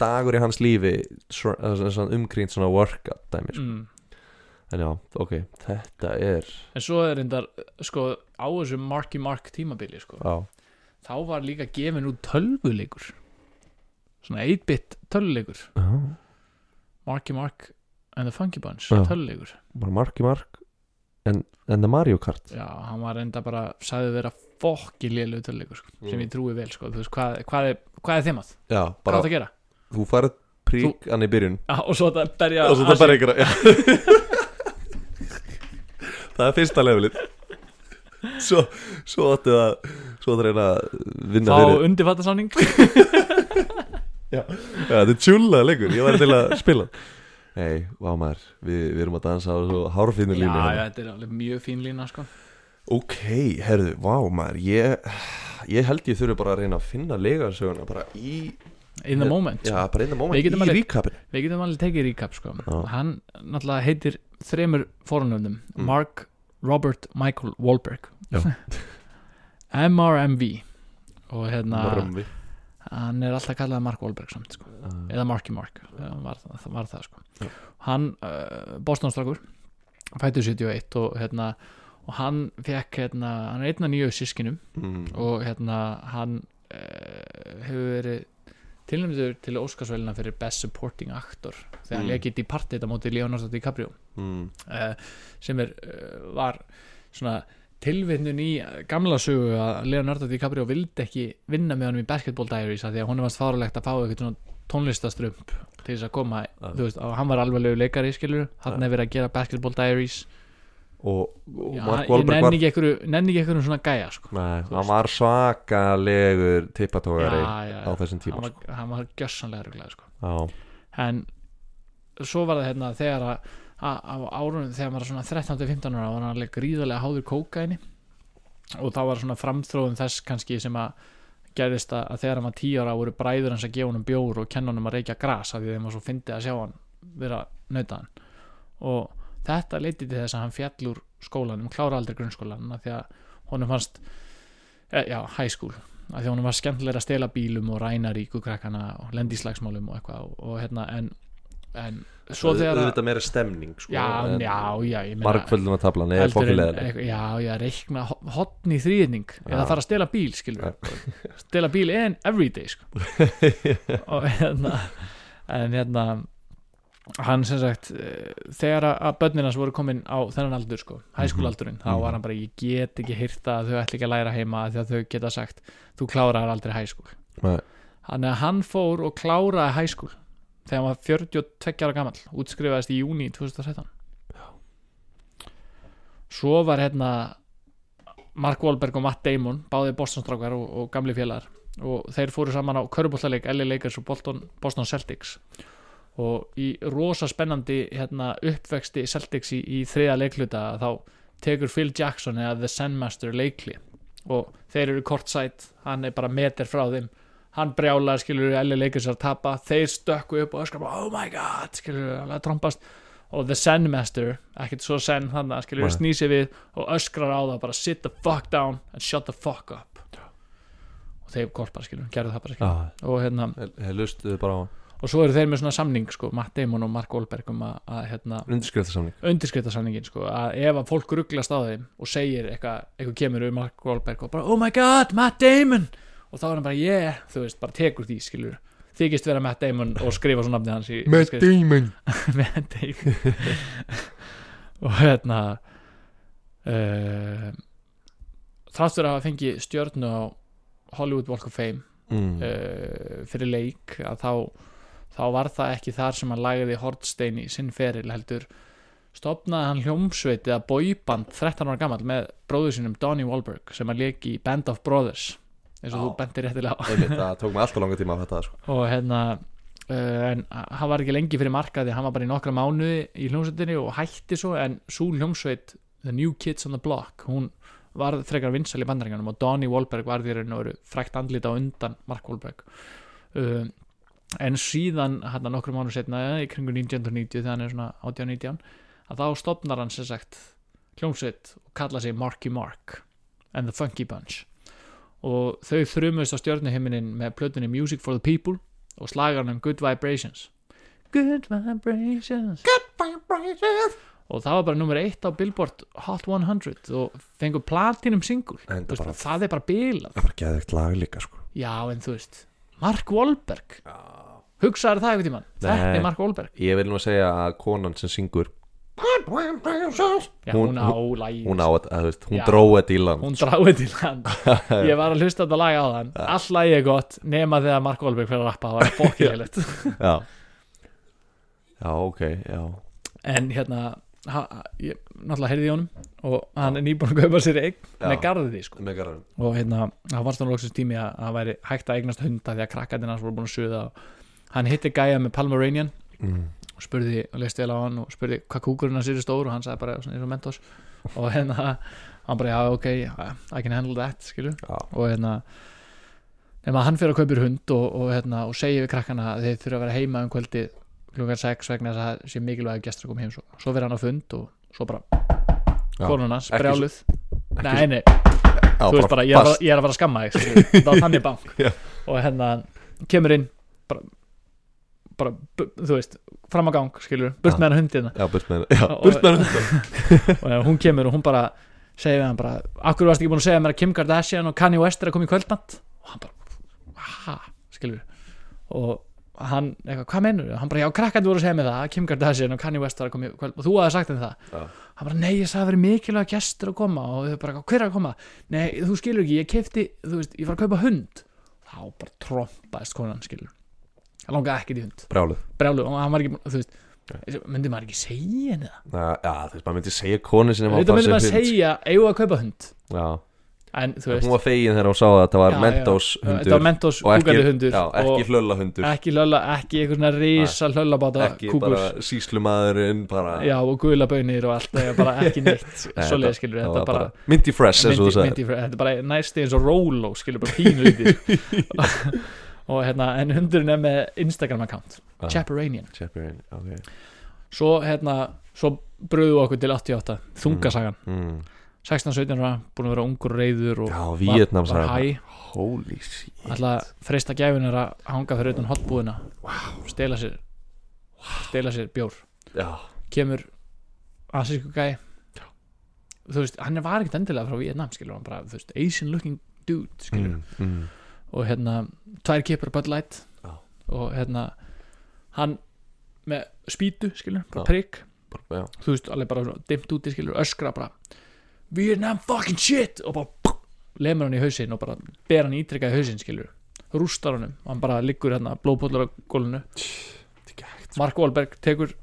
dagur í hans lífi svo- eða svona, svona umkringt svona workout dæmi, sko. mm. en já, ok, þetta er En svo er reyndar, sko, á þessu Marky Mark tímabili, sko, já, þá var líka gefin út tölvuleikur. Svona 8-bit tölvuleikur. já Marky Mark and the Funky Bunch, Já. tölvuleikur. bara mark í mark en, en það Mario Kart Já, hann var reyndar bara, sagði vera fokki lélegu tölvuleikur, sko, sem ég trúi vel, sko. Þú veist, hvað, hvað, er, hvað er þemað? já, Hvað Mm. er bara, það að gera? þú farið prík hann í byrjun Já, og svo það berja... og svo það bara ykkur það er fyrsta levelið svo, svo áttu að svo áttu að reyna að vinna Fá fyrir undirfattasáning. Já, þetta er tjúla leikur, ég væri til að spila Nei, vá maður, við, við erum að dansa á svo hárfínu Já, línu já, hérna. þetta er alveg mjög fín lína, sko. Ok, herðu, vá maður, ég, ég held ég þurfi bara að reyna að finna legarsöguna bara í, In the moment. já, bara einn moment Við getum í alveg- ríkapinu Við getum alveg tekið recap sko Já. Hann náttúrulega heitir þremur forunöfnum Mm. Mark Robert Michael Wahlberg Já. MRMV og hérna Römmi. hann er alltaf kallað Mark Wahlberg samt sko eða Marky Mark þegar hann var, það var það sko Já. hann, uh, Bostonstrakur fættu 71 og hérna og hann fekk hérna, hann er einn af nýju sískinum Mm. og hérna hann uh, hefur verið tilnæmdur til Óskarsvælina fyrir Best Supporting Actor þegar hann Mm. leikir Departed á móti Leonardo DiCaprio Mm. uh, sem er, uh, var svona tilvinnun í gamla sögu að Leonardo DiCaprio vildi ekki vinna með honum í Basketball Diaries af því að honum varst fárulegt að fá eitthvað svona tónlistaströmp til þess að koma Já. þú veist, og hann var alvarlegu leikari skilur hann er verið að gera Basketball Diaries Og, Ah. og Já, Mark ég Wahlberg nenni var ekki einhverju- nenni ekki einhverjum svona gæja sko. Nei, hann var svakalegur tippatógari Já, já, á þessum tíma hann sko. var, hann var gjössanlega ruglega sko. Já, en svo var það hérna þegar að að- á árunum þegar maður var svona 13-15 ára var hann alveg gríðarlega háður kókaini og þá var svona framþróðum þess kannski sem að gerðist að, að þegar hann var 10 ára voru bræður hans að gefa honum bjór og kenna honum að reykja gras af því þeim var svo fyndið að sjá hann vera nautaðan og þetta leiti til þess að hann fjall úr skólanum, klára aldrei grunnskólan af því að honum fannst e, já, high school, af því að honum var skemmtilega að stela bílum og ræna ríku krakkana og lendi í slagsmálum og eitthvað og, og hérna en, en svo þegar að, Þetta meira stemning sko, já, en- já, já, ég meina Markföldum að tabla, nei, heldur en fokkilega eitthvað- já, já, reikna hotn í þrýðning eða Já. fara að stela bíl, skilur stela bíl en everyday sko. og hérna en hérna hann sem sagt, eh, þegar að- að börnin hans voru komin á þennan aldur sko, Mhm. hæskúlaldurinn, þá var hann bara, ég get ekki hýrta að þau ætla ekki að læra heima af því að þau geta sagt, þú klárar aldrei hæskúl Nei. þannig að hann fór og kláraði hæskúl þegar hann var 42 ára gamall útskrifaðist í júni 2013 svo var hérna Mark Wahlberg og Matt Damon báði Boston-strákar og, og gamli félagar og þeir fóru saman á körbóltaleik LA Lakers og Bolton, Boston Celtics og í rosa spennandi hérna, uppvexti Celtics í, í þriða leikluta þá tekur Phil Jackson eða The Sandmaster leikli og þeir eru kortsætt, hann er bara meter frá þeim hann brjálar, skilur LA Lakers er að tapa, þeir stökku upp og öskar bara, oh my god, skilur alveg að trompast og The Sandmaster ekkert svo senn hann, skilur, Nei. snýsi við og öskrar á það bara sit the fuck down and shut the fuck up og þeir korpar skilur, gerðu það bara skilur Já, og, hérna, Ah. þeir lustuðu bara á og svo eru þeir með svona samning sko, Matt Damon og Mark Olberg um að, að hérna, undirskriftasamning undirskrifta samningin sko, að ef að fólk rugglast á þeim og segir eitthvað, eitthvað kemur um Mark Wahlberg og bara oh my god, Matt Damon og þá er hann bara yeah, þú veist, bara tekur því skilur þykist vera Matt Damon og skrifa svo nafnið hans í, skrif- Damon Matt Damon og hérna uh, þrátt fyrir að hafa fengið stjörnu á Hollywood Walk of Fame mm. uh, fyrir leik að þá, þá var það ekki þar sem hann lagði Hortstein í sinn feril heldur stopnaði hann hljómsveitið að bóiband 13 ára gamall með bróður sínum Donnie Wahlberg sem hann leik í Band of Brothers eins og Já. þú bentir réttilega á Einmitt, það tók mig alltaf langa tíma að þetta sko. og hérna uh, en hann var ekki lengi fyrir markaði hann var bara í nokkra mánuði í hljómsveitinni og hætti svo en svo hljómsveit The New Kids on the Block hún varð frekar vinsæl í bandaringunum og Donnie Wahlberg var því raun og veru frækt andlita á undan Mark Wahlberg um, en síðan hérna, hann nokkru mánu setna í kringu 1990 þegar hann er svona 18-19 að þá stopnar hann sem sagt hljómsveit og kalla sig Marky Mark and the Funky Bunch og þau þrumust á stjörnuhiminin með plötunni Music for the People og slagarnum Good Vibrations Good Vibrations og það var bara nummer eitt á Billboard Hot 100 og fengur platinum single En Þú það veist, bara- það er bara bilað Það var geðvegt lag líka sko. já en þú veist Mark Wahlberg hugsaður það eitthvað tíman þetta Nei. er Mark Wahlberg Ég vil nú að segja að konan sem syngur já, hún, Hún- á lægi Hún á þetta, að þú veist, hún Já. dróði þetta í land hún dráði til hann ég var að hlusta á þetta lag á þann all lagi er gott nema þegar Mark Wahlberg fyrir að rappa það var bókiðilegt Já Já, ok, já en hérna ha, ég náttúrulega heyrði í honum og hann er nýbúin að kaupa sér eign Já. með garðið því sko Megar hann og hérna það varst hann lóksins tími að það væri hægt að eignast hunda því að krakkarnir hans voru búin að suða og hann hitti gæja með Palmeranian mm. og spurði og leist vel á hann og spurði hvað kúkurinn hans er stór og hann sagði bara svona eins og mentos og hérna hann bara já ok I can handle that skilu Já, og hérna nema hann fyrir að kaupir hund og, og, hérna, og segir við krakkana að þeir þurfa að vera heima um kvöldi klukkan 6 vegna þess að það sé mikilvæg að gestur kom heim svo, svo fyrir hann á fund og svo bara Já, konan hans, ekki brjáluð nei, nei, já þú veist bara, ég er, að, fara- ég er að fara að skamma þig skilur við. það var þannig bank Já. og hérna, kemur inn bara, bara bu- þú veist, fram á gang skilur, burt Já. með hann hundina Já, burt með henni Já, Og- burt með henni og ef hún kemur og hún bara segir við hann bara, akkur varst ekki búin að segja mér að Kim Kardashian og Kanye West er að koma í kvöldnatt og hann bara, ha, skilur og hann, eitthvað, hvað meinur hann bara, já, krakkandi voru að segja mér það, að Kim Kardashian og Kanye West er að koma í kvöld og þú hafði sagt henni það Já. hann bara, nei, ég sagði að vera mikilvæg gestur að koma og þau bara, hver er að koma nei, þú skilur ekki, ég kefti, þú veist, ég var að kaupa hund þá bara trompaðist konan, skilur hann langaði ekkert í hund, Brjáluð brjálu og hann var ekki, búinn- þú veist myndi maður ekki segja henni það Já, þú veist, maður myndi segja konu sinni Þetta myndi maður segja, eigum við að kaupa hund Já, En þú hún veist var fegin þegar hún sá að þetta var Já, Mentos já. hundur Þetta var Mentos og ekki- kúkandi hundur Já, ekki og hlölla hundur Ekki lölla, ekki einhver svona risa hlöllabáta Ekki kúkur bara síslumaðurinn bara Já, og guðlabönir og allt Það er bara ekki neitt Nei, Svoleiði skilur, það þetta var bara Minty Fresh, eins og myndi, þú sagði myndi, Þetta er bara næsti eins og Rolo Skilur bara pínu lítið sko. Og hérna, en hundurinn er með Instagram account Já. Chaperanian Chaperone, ok Svo hérna, svo bröðu okkur til 88 Þungasagan, mm. 16-17 ára Búin að vera ungur reyður og Já, var, Vietnam var sagði hæ Holy shit ætla að freista gæfinar að hanga fyrir utan hotbúðina wow. stela sér stela sér bjór Já, kemur asísku gæ þú veist, hann var ekkert endilega frá Vietnam skilur hann bara, þú veist, Asian looking dude skilur, mm, mm. og hérna tvær kipur Bud Light Já. og hérna hann með spýtu skilur, bara Já. prigg Bara, já. þú veist, alveg bara svona dimmt úti skilur, öskra bara Vietnam fucking shit og bara pff, lemur hann í hausinn og bara ber hann ítrekka í hausinn skilur, rústar honum og hann bara liggur hérna blóðpóllur á gólunu Þetta er ekki hægt. Mark Wahlberg tekur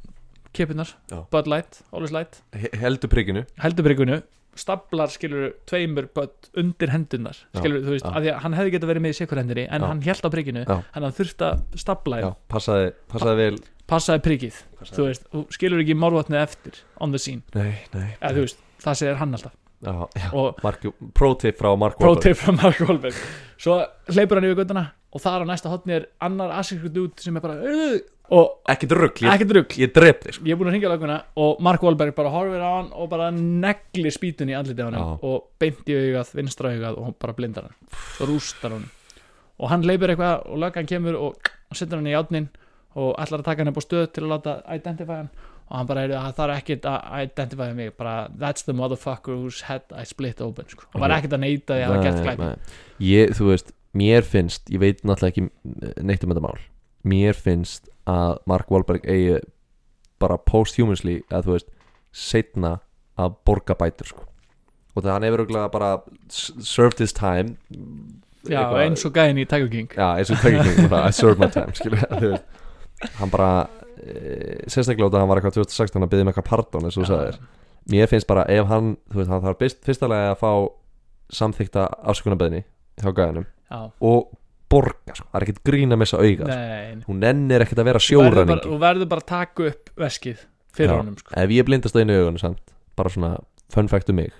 kipinnar, Já. Bud Light, Always Light He- Heldur prigginu heldur bryggunu, staplar skilur tveimur Bud undir hendunar Já, skilur, þú veist, já. af því að hann hefði getað verið með í sikur hendinni en Já. hann held á brygginu, Já. hann þurfti að stapla Já, þeim, passaði, passaði vel passaði pryggið passaði. þú veist, og skilur ekki málvatnið eftir on the scene, Nei, nei eða þú veist, það segir hann alltaf Já, já og Mark, Pro-tip frá Mark Wahlberg Pro-tip frá Mark Wahlberg Svo hleypur hann yfir göttuna Og þar á næsta hotni er annar asískur dude sem er bara "Ugh", Og Ekkert rugl, ég, ekkert rugl ég drep þig sko. Ég er búin að hringja löguna og Mark Wahlberg bara horfir á hann og bara neglir spýtun í andlitið á hann Já. og beint í augað, vinstra augað og hún bara blindar hann og rústar hann og hann leipur eitthvað og löggan kemur og, og setur hann í játnin og ætlar að taka hann upp á stöð til að láta identify hann og hann bara heyrðu að það er ekkert að identify mig bara that's the motherfucker whose head I split open sko. og var Ok. ekkert að neyta því að hafa gert Nei, glæpi nei. ég, þú veist, mér finnst ég veit náttúrulega ekki neitt um þetta mál mér finnst að Mark Wahlberg eigi bara posthumously að þú veist, setna að borga bætur sko og það hann hefur örugglega bara s- served his time já eitthvað- eins og gæðin í Tiger King já, eins og Tiger King bara, I served my time skilur, þú veist hann bara, e, sérstaklega út að hann var eitthvað 2016 að byggja með eitthvað pardon eins og þú sagðir mér finnst bara ef hann þú veist, hann þarf fyrst, fyrstalega að fá samþykta afsökunarbeðni hjá gæðinum já, og borga, sko, það er ekkert grín að missa auga sko. nei hún nennir ekkert að vera Þú verður bara- sjóræningi þú verður bara að taka upp veskið fyrir Já. honum sko. ef ég blindast einu augunum samt bara svona fun fact um mig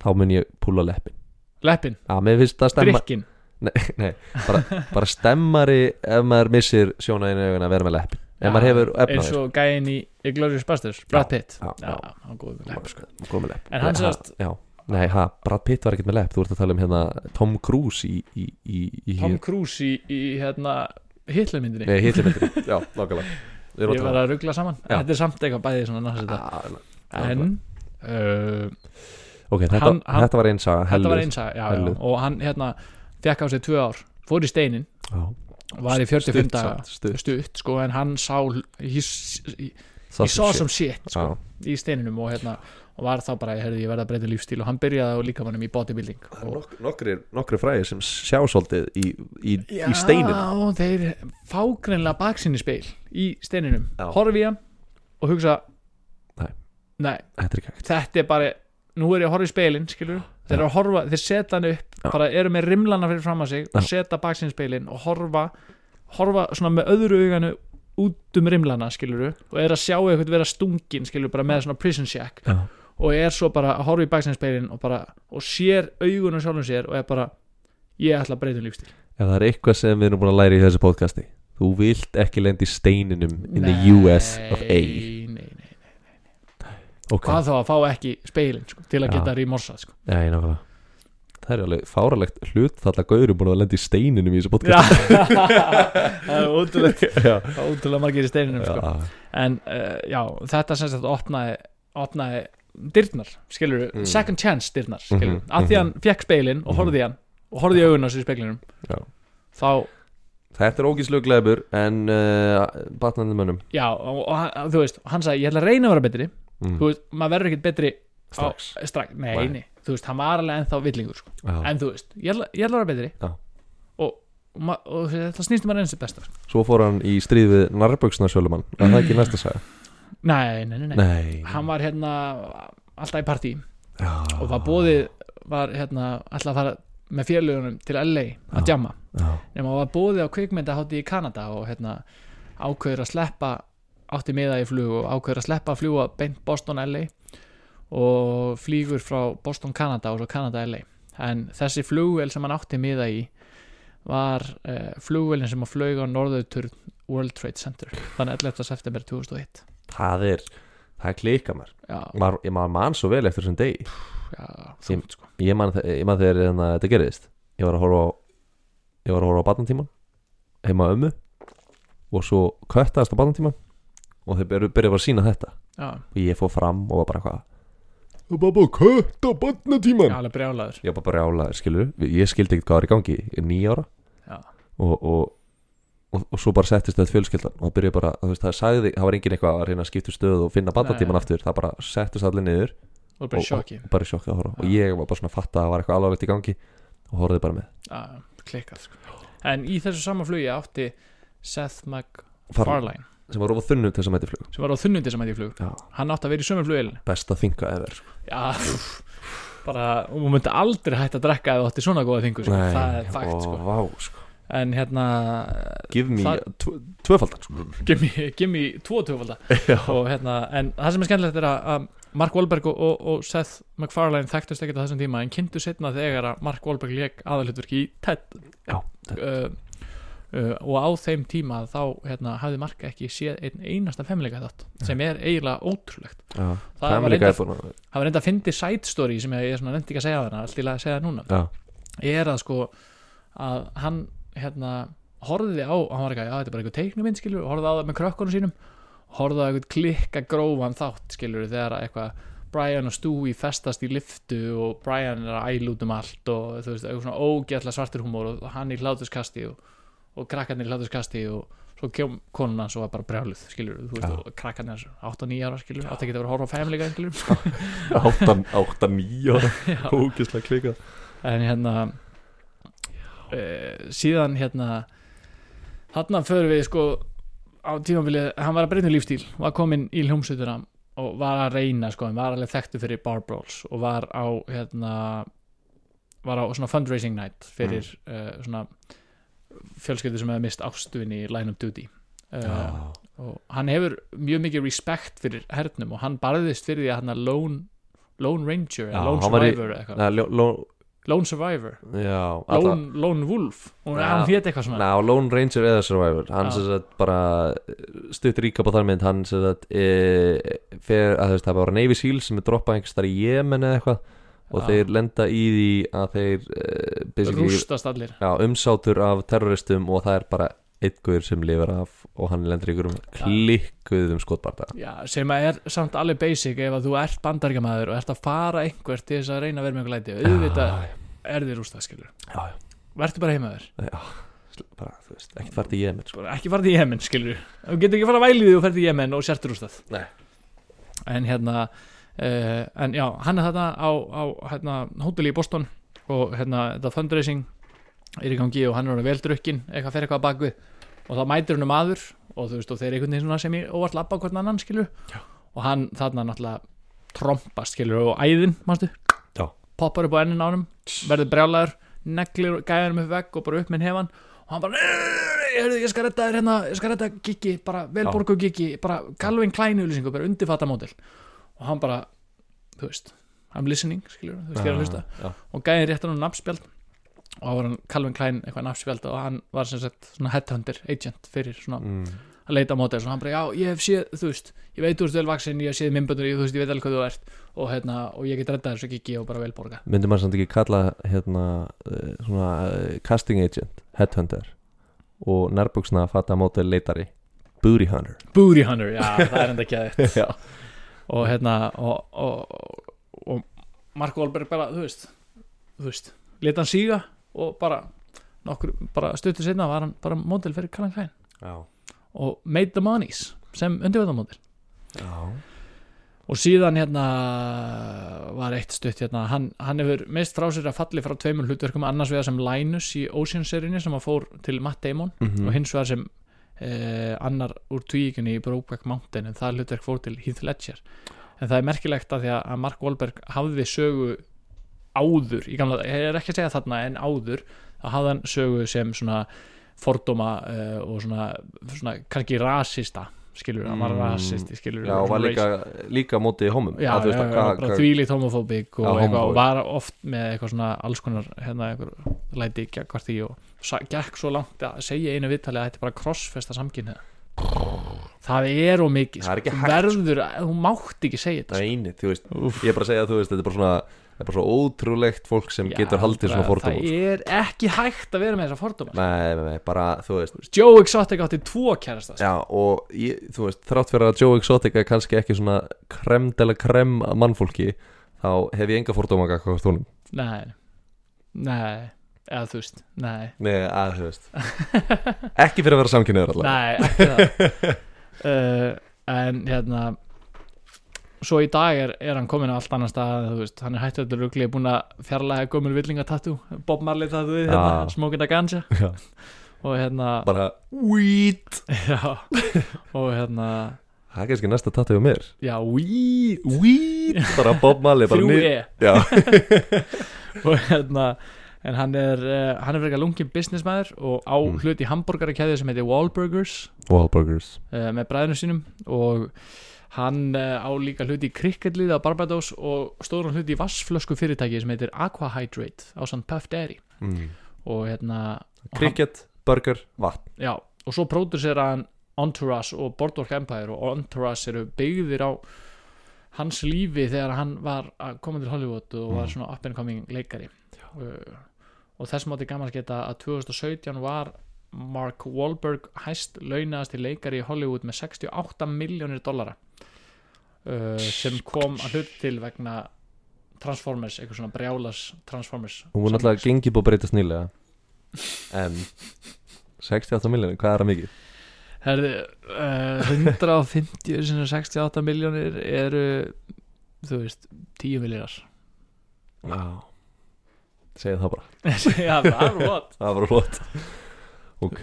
þá mun ég púla leppin leppin, að mér finnst það stemma drikkin nei, bara, bara stemmari ef maður missir sjóna einu augun að vera með leppin ef maður hefur eins efnaði og gæðin í Glorious Bastards Brad Pitt já, já. já, hann er góður með lepp sko. góð með lepp En hann Nei, sagðist- ha, já. Nei, ha, Brad Pitt var ekkert með lepp Þú ert að tala um hérna Tom Cruise í, í, í, í Tom Cruise í, í hérna hitlermyndinni Nei, hitlimindri, já, nákvæmlega Við erum ég að Ah, var að ruggla saman Já. þetta er samt eitthvað bæðið svona nasista tala en uh, Ok, þetta, Hann- hann- þetta var einn saga þetta var helluð. eins að já, já, Helluð. og hann hérna fekk á sig tvö ár fór í steinin, Já, var í 45 stutt daga samt, stutt. stutt sko en hann sá he, he, Það he saw sé- some shit sko, Já, í steininum og hérna og var þá bara, heyrðu, ég verða að breyta lífstíl og hann byrjaði á líkamannum í bodybuilding það eru og, nok- nokkrir, nokkrir fræðir sem sjá svolítið í, í, í steinin Já, þeir fá greinlega baksinni speil í steininum Já. horfi í hann og hugsa Nei. nei, Þetta er ekki hægt þetta er bara nú er ég að horfa í speilin, skilur þeir, eru að horfa, þeir setja hann upp, Já. bara eru með rimlana fyrir fram að sig og setja baksinni speilin og horfa, horfa svona með öðru auganu út um rimlana skilur og er að sjá eitthvað vera stungin skilur bara með svona prison shack Já. og er svo bara að horfa í baksinni speilin og bara, og sér augunum sjálfum sér og er bara, ég ætla að breyta um lífstíl Ef það er eitthvað sem við erum búin að læra í þessu podcasti Þú vilt ekki lenda í steininum in the US of A Nei, nei, nei. Ok, Hvað þá að fá ekki speilin sko, til að Já. geta rímorsað sko. nei, nákvæmlega Það er alveg fáralegt hlut þalla gauður búin að lenda í steininum í þessu Já podcasti Það er ótrúlega Já, það er ótrúlega margir í steininum sko. já, En uh, já, þetta sem sagt opnaði, opnaði dyrnar skilur, Mm. second chance dyrnar skilur, Mhm, að því mhm. hann fekk speilin og horfði í hann og horfði í augun á sér í speilinum Já. þá, Þetta er ógíslu glæfur en uh, batnandi mönnum já, og, og hann- þú veist hann sagði, ég ætla að reyna að vera betri Mm. þú veist, maður verður ekkert betri á- eh, Strax. strax, nei, Nei. nei, þú veist, hann var alveg ennþá villingur sko. Já. en þú veist, ég ætla, ég ætla að vera betri Já. og, og, ma- og þetta snýst um að reyna sér besta sko. Svo fór hann í stríð við narböksna sölumann Var það ekki næsta saga? nei, nei, nei, nei. Nei hann var hérna alltaf í partí Já, og var bóðið var hérna alltaf að fara með félögunum til LA að djamma já, nema hann var bóðið á kvikmyndahátti í Kanada og hérna ákveður að sleppa átti miða í flug og ákveður að sleppa að fljúa beint Boston LA og flýgur frá Boston Kanada og svo Kanada LA en þessi flugvél sem hann átti miða í var uh, flugvélin sem að flög á norðautur World Trade Center þann 11. september 2001 Það er, það er klika mér já, Maður ég- maður man svo vel eftir þessum degi já, þungt sko Ég man, þe- ég man þegar hérna þetta gerðist Ég var að horfa á Ég var að horfa á batnantíman Heima á ömmu Og svo köttaðast á batnantíman Og þeir byrjuðu byrjuðu að sína þetta já, Og ég fór fram og var bara hvað Það var bara kött á batnantíman alveg brjálaður Ég var bara brjálaður, skilur Ég skildi ekkert hvað var í gangi, ég er níu ára Já. og, og, og, og svo bara settist þetta fjölskyldan og það byrjaði bara, þú veist, það sagði það var engin eitthvað að reyna að skipta um stöð og finna batatíman Nei. aftur, það bara settist allir niður og bara í og, sjokki og bara í sjokki að horfa og Já. ég var bara svona að fatta að það var eitthvað alvarlegt í gangi og horfði bara með Já, klikkað sko. en í þessu sama flugi átti Seth Farley. MacFarlane sem var rofa þunnu til þess að mæti flug sem var á þunnundi sem hætti í flug Já. hann átti að vera í sömu flugilinu besta þinga ever sko. já, pff, bara, og hún myndi aldrei hægt að drekka ef þú átti svona góða þingu sko. Nei, það er fakt og sko. vá, sko. en hérna give me Það- tv- tvöfaldan sko. gimm í tvo töfalda og hérna, en það sem er skemmtilegt er að að Mark Wahlberg og, og, og Seth MacFarlane þekktust ekkert á þessum tíma en kynntu setna þegar að Mark Wahlberg leik aðalhutverki í TED Já, Ted. uh, uh, og á þeim tíma þá hérna, hafði Mark ekki séð einn einasta femleika þátt sem er eiginlega ótrúlegt Já. Það var Family Guy reyndar- er búin að- það var reynda að fyndi side story sem ég er svona nefndi ekki að segja þarna allt í lagi að segja það núna Já. er að sko að hann hérna, horfði á, hann var eitthvað, já þetta er bara eitthvað teiknumind skilur, og horfði á það með krökkunum sínum horfði á eitthvað klikka grófan þátt skilur, þegar eitthvað Brian og Stewie festast í liftu og Brian er að æla út um allt og þú veist, eitthvað svona ógætla svartur húmór og hann í hlátuskasti og, og krakkarnir í hlátuskasti og svo kjóm konan hans og var bara brjáluð skilur, þú veist, Já. og krakkarnir hans 8 og 9 ára skilur, átt ekki að vera að horfa á Family Guy skilur Áttan, áttan nýja Já. Hókislega klika en hérna uh, síðan hérna þarna förum við sko á tímabilið, hann var að breyta um lífstíl var kominn í hljómsveituna og var að reyna sko, hann var alveg þekktu fyrir bar brawls og var á hérna var á svona fundraising night fyrir Mm. uh, svona fjölskyldu sem hefði mist ástuðin í Line of Duty uh, og hann hefur mjög mikið respekt fyrir hernum og hann barðist fyrir því að hann að Lone, Lone Ranger Já, eða Lone hann var í- Survivor eða eitthvað Nei, ljó, ljó, Lone Survivor já, alla- Lone, Lone Wolf hún, Ja. hann hét eitthvað svona Ná, Lone Ranger eða Survivor hann Já. sem sagt bara eh, stutt ríka á þar mynd hann sem sagt e, fer að þú veist það var Navy Seal sem er droppað einhvers þar í Jemen eða eitthvað og Já. þeir lenda í því að þeir e, basically- rústast allir já, umsátur af terroristum og það er bara einn guður sem lifir af og hann lendur ykkur um klikkuðum skotbarta Já, sem að er samt alveg basic ef að þú ert bandaríkjamaður og ert að fara einhvert til þess að reyna að vera með einhver læti auðvitað er þið rústað skilur já, já, verður bara heimaður, já, bara þú veist ekkert fært í Jemen sko. bara ekki farið í Jemen skilur þú getur ekki farið að væli því og ferð í Jemen og sért rústað Nei. en hérna uh, en já, hann er þarna á, á hérna, hóteli í Boston og hérna þetta fundraising er í gangi og hann er orðinn vel drukkin eitthvað fer eitthvað að bakvið og þá mætir hann um aður og þú veist og þeir einhvern veginn svona sem ég óvart labba hvort annan skilur Já. og hann þarna náttúrulega trompast skilur og æðin manstu Já. poppar upp á ennin á hann verður brjálæður neglir gæðanum upp vegg og bara upp með hefann og hann bara "Nei, heyrðu, ég skal redda þér hérna ég skal redda gigi bara velborgu gigi bara Calvin Klein auðlýsingu bara undirfatta mótil og hann bara þú veist I'm listening skilur þú veist ég er að hlusta já, og gæði réttan um nafnspjald og það var hann Calvin Klein eitthvað nafnspjald og hann var sem sagt svona headhunter agent fyrir svona mm, að leita á móti og hann bara já ég hef séð þú veist ég veit úr stöðelvaksin ég hef séð minnböndur ég, þú veist ég veit alveg hvað þú ert og hérna og ég get reddað þessu kiki og bara vel borga myndi maður samt ekki kalla hérna eh, svona eh, casting agent, headhunter og nærbuksna fata mótel leitari booty hunter booty hunter já það er enda ekki að þetta já, og hérna og, og, og, og Mark Wahlberg bara þú veist þú veist leta hann síga og bara nokkur bara stöttu sinna var hann bara mótil fyrir Calvin Klein já. og made the monies sem undirvæðamótil já. og síðan hérna var eitt stutt hérna hann, hann hefur mist frá sér að falli frá tveimur hlutverkum annars vegar sem Linus í Ocean-seríunni sem að fór til Matt Damon Mm. Mhm. og hins vegar sem eh, annar úr tvíkjunni í Brokeback Mountain en það hlutverk fór til Heath Ledger en það er merkilegt að því að að Mark Wahlberg hafði sögu áður í gamla, ég er ekki að segja þarna en áður þá hafði hann sögu sem svona fordóma uh, og svona, svona kannski rasista skilur, hann var Mm. rasisti skilur já, og var líka, líka móti homum já, Að já, þú veist já, að hvað- bara hvað- þvílíkt homofóbik og, eitthvað, Já, og homofóbik. var oft með eitthvað svona alls konar hérna, eitthvað læti gegn því og sa- gekk svo langt að segja í einu viðtali að þetta er bara crossfesta samkynni það er og mikið Það er ekki sko. hægt, verður, að- þú mátt ekki segja þetta sko. Nei, þú veist, ég er bara að segja að þú veist þetta er bara svona, það er bara svo ótrúlegt fólk sem getur haldið svona fordóma sko. það er ekki hægt að vera með þessa fordóma sko. nei, nei, nei, bara, þú veist Joe Exotic átti tvo kærasta sko. já, og ég, þú veist, þrátt fyrir að Joe Exotic er kannski ekki svona krem dela krem að mannfólki, þá hef ég enga fordóma hvað þú honum, nei, nei eða þú veist, nei nei, að þú veist ekki fyrir að vera samkynniður alltaf Nei, ekki það uh, En hérna Svo í dag er, er hann komin á allt annar stað þú veist, Hann er hættur þetta rugli búin að fjarlæga gömul villingatattu Bob Marley tattu við Ah. hérna, Smoking a ganja Já. Og hérna bara, weed já, Og hérna það er kannski næsta tattu hjá mér Já, wee weed, bara Bob Marley bara Þrjú ný- e já, og hérna en hann er, uh, hann er verið að lungin businessmæður og á Mm. hlut í hambúrgarakæði sem heitir Wahlburgers Wahlburgers uh, með bræðinu sínum og hann uh, á líka hluti í krikketlið á Barbados og stóran hluti í vassflösku fyrirtæki sem heitir Aquahydrate á San Puff Dairy mm. og hérna og hann, cricket, burger, vatn já, og svo pródusir hann Entourage og Boardwalk Empire og Entourage eru byggðir á hans Mm. lífi þegar hann var að koma til Hollywood og var svona up and coming leikari uh, og þess mátti gaman að geta að 2017 var Mark Wahlberg hæst launaðasti leikari í Hollywood með 68 miljónir dollara uh, sem kom að hlut til vegna Transformers, eitthvað svona brjálas Transformers Hún var náttúrulega gengið búið að breyta snýlega En 68 miljonir, hvað er það mikið? Herði, uh, 150 sem er 68 miljónir eru þú veist, 10 miljónar Já Segðu það bara, Já, það er what það var flott Ok,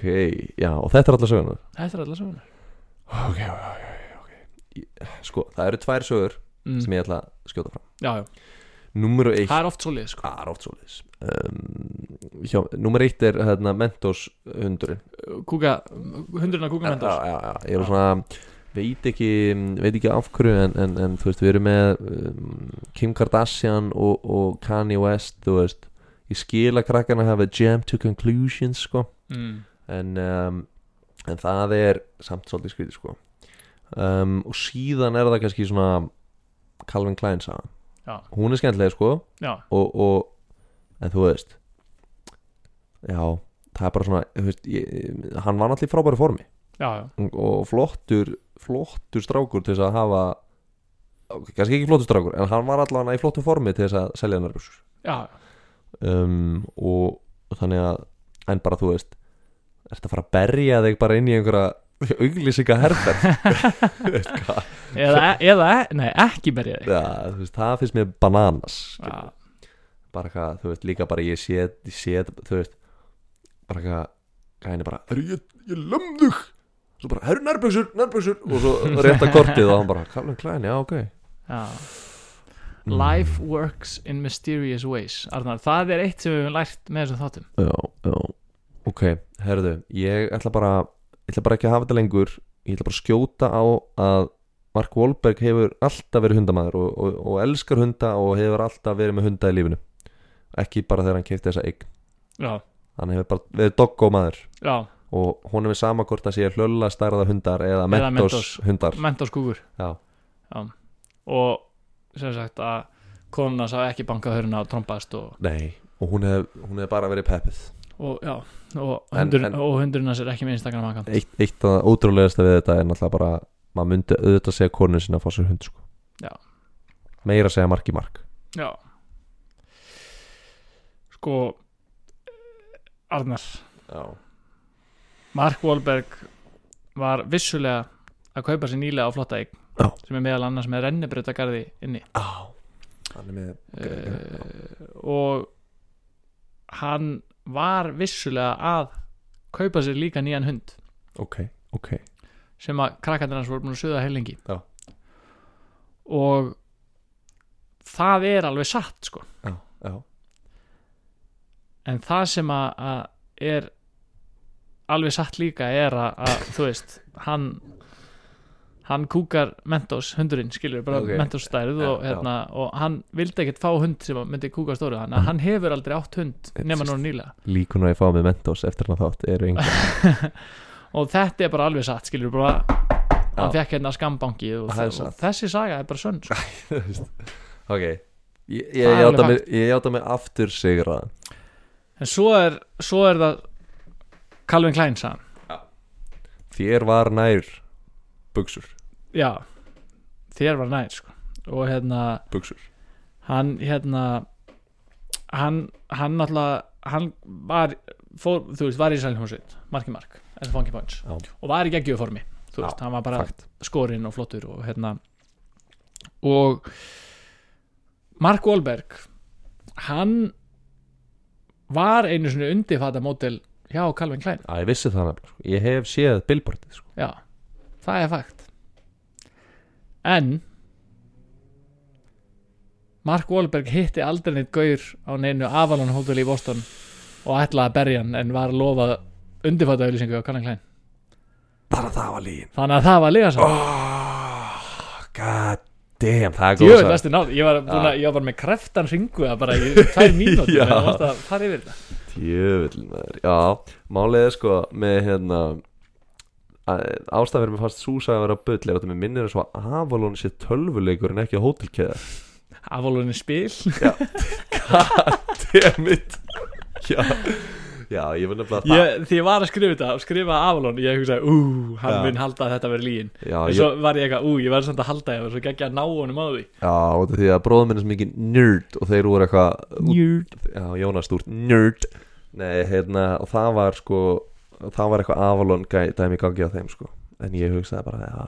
já, og þetta er allar söguna Þetta er allar söguna Ok, ok, ok, ok Sko, það eru tvær sögur sem mm. ég ætla að skjóta fram Já, já, Númer eitt það er oft svoleið sko. Það er oft svoleiðis um, hjá, Númer eitt er hérna, Mentos hundurinn Kúka, hundurinn að kúka já, mentor já, já, ég er svona veit ekki, veit ekki af hverju en, en, en þú veist, við erum með um, Kim Kardashian og, og Kanye West, þú veist ég skil að krakkana hafa jam to conclusions sko, mm. en um, en það er samt svolítið skrítið sko um, og síðan er það kannski svona Calvin Klein sagan Já. hún er skemmtilega sko Já, og, og en þú veist já, það er bara svona þú veist, ég, hann var náttúrulega í frábæru formi já, já og flottur flottur strákur til þess að hafa kannski ekki flottur strákur en hann var allavega í flottu formi til þess að selja nærbjörnsur Já, um, og, og þannig að en bara þú veist ertu að fara að berja þig bara inn í einhverja auglýsinga herferð eða, eða nei, ekki berja þig ja, þú veist, það finnst mér bananas Já, bara hvað, þú veist, líka bara ég sé, ég sé þú veist, bara hvað gæni bara, herru, ég, ég lömm þig svo bara, herru, nærbjörnsur, nærbjörnsur og svo rétta kortið og hann bara, Calvin Klein, já, ok já Mm. Life works in mysterious ways Arnar, það er eitt sem við höfum lært með þessum þáttum Já, já Ok, herðu, ég ætla bara ég ætla bara ekki að hafa þetta lengur ég ætla bara að skjóta á að Mark Wahlberg hefur alltaf verið hundamaður og, og, og elskar hunda og hefur alltaf verið með hunda í lífinu ekki bara þegar hann kefti þessa eign Já, hann hefur bara verið doggó maður já, og honum er sama hvort að sé hlölla stærða hundar eða mentos, Mentos. hundar mentorskúkur Já, og sem sagt að konuna sá ekki bankað höruna og trompaðist og, nei og hún hef, hún hef bara verið peppið og já, og En- hundurinn en- og hundurinn hans er ekki með Instagram akkant eitt, eitt að ótrúlegasta við þetta er náttúrulega bara maður myndi auðvitað segja konun sinna að fá sér hund sko. Já. meira segja mark í mark já sko Arnar, já, Mark Wahlberg var vissulega að kaupa sér nýlega á flotta eign Já. sem er meðal annars með rennibrautagarði inni hann er með uh, og hann var vissulega að kaupa sér líka nýjan hund ok, ok, sem að krakkandir hans voru búin að suða heilingi Já. og það er alveg satt sko já, já en það sem að, að er alveg satt líka er að, að þú veist hann hann kúkar Mentos hundurinn skilur bara Ok. Mentos stærð Já, og, já. hérna, og hann vildi ekkert fá hund sem að myndi kúka stóru hann hann hefur aldrei átt hund nema núna nýlega líkun að ég fá með mentos eftir hann að þátt eru einhver og þetta er bara alveg satt skilur bara hann Já. fekk hérna skambankið og, Það er og satt. þessi saga er bara sönn sko. ok, ég, Það er ég, alveg játa mig, ég játa mig aftur sigraðan en svo er, svo er það Calvin Klein sagan þér var nær buksur, já, þér var nær sko. og hérna buksur hann hérna hann, hann náttúrulega hann var, fór, þú veist, var í sælhjómsveit marki mark, eða fangi punch Já. og var í geggjöformi, þú Já, veist, hann var bara fakt. skorinn og flottur og hérna og Mark Wahlberg hann var einu svona undifata mótel hjá Calvin Klein að ég vissi það nefnilega, sko. ég hef séð billboardið sko. já, það er fakt en Mark Wahlberg hitti aldrei neitt gaur á neinu Avalon Hotel í Boston og ætlaði að berja hann en var lofað undifata auðlýsingu á Calvin Klein bara það var lín þannig að það var líka svo oh, god damn það Ég er góð veit saga. besti náð, ég var, búin að, ég var bara með kreftan ringu að bara í tvær mínútur Ah. Já. en það varst að fara yfir þetta Jöfull maður, já, málið er sko með hérna ástafir með fast súsa að vera bull er að mér minnir að svo að Avalon sé tölvuleikur en ekki hótelkeða Avalon er spil Dammit já, já, ég var nefnilega það ég, því ég var að skrifa þetta og skrifa Avalon ég hugsaði, ú, hann Já. mun halda að þetta verið líin já, en ég, svo var ég eitthvað, ú, ég verði samt að halda ég og svo geggja að ná honum á því já, út af því að bróðum minn er svo mikið nerd og þeir voru eitthvað Njörd já, Jónas Stúrt, nerd Nei, hérna, og það var sko það var eitthvað Avalon gæ, dæmi í gangi á þeim sko, en ég hugsaði bara já,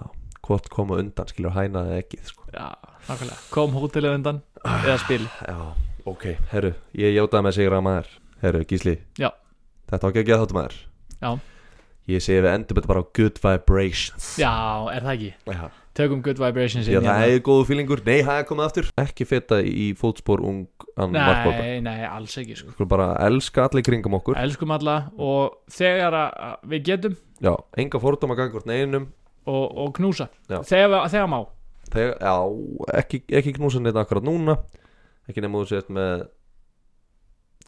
hvort koma undan, skilur hæna eða ekkið sko, Já, nákvæmlega, kom hótelið undan eða spil já, ok herru, ég játaði með sigra maður herru, Gísli, Já. þetta var ekki að geða þáttum maður Já. ég segi við endum þetta bara á good vibrations Já, er það ekki? já, Tökum good vibrations já inn það hérna. er góðu fílingur, nei, það er komið aftur ekki feta í fótspor ung ann markbólta, Nei, nei, alls ekki sko. sko bara elska allir kringum okkur Elskum alla og þegar að- að við getum já, enga fordóma gangvart neinum og, og knúsa Já. þegar, við- þegar má Þegar, já, ekki, ekki knúsa neitt akkurat núna ekki nema þú sért með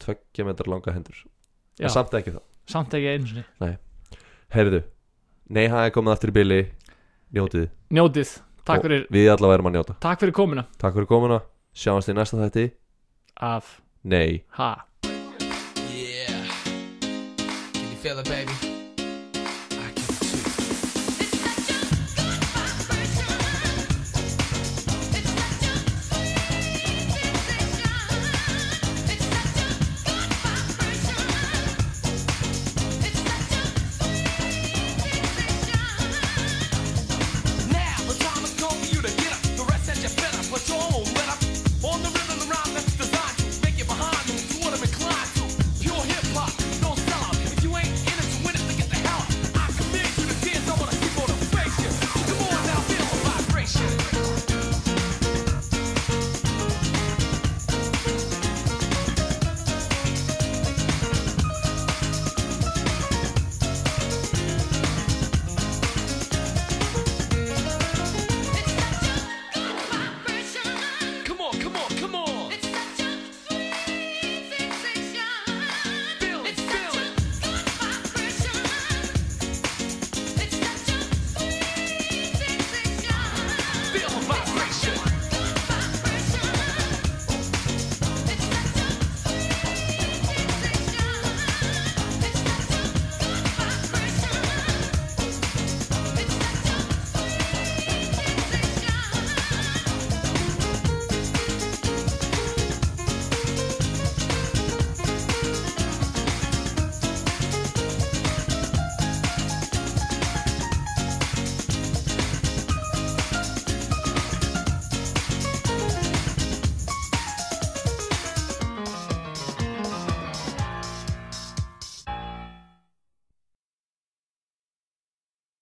tveggja metrar langa hendur Já. en samt ekki það Samt ekki einu sinni heyrðu, nei hafi komið aftur í byli njótið, Njótið, takk Og- fyrir, við allavega erum að njóta takk fyrir komuna takk fyrir komuna, sjáumst í næsta þætti af nei ha Yeah. Can you feel it, baby?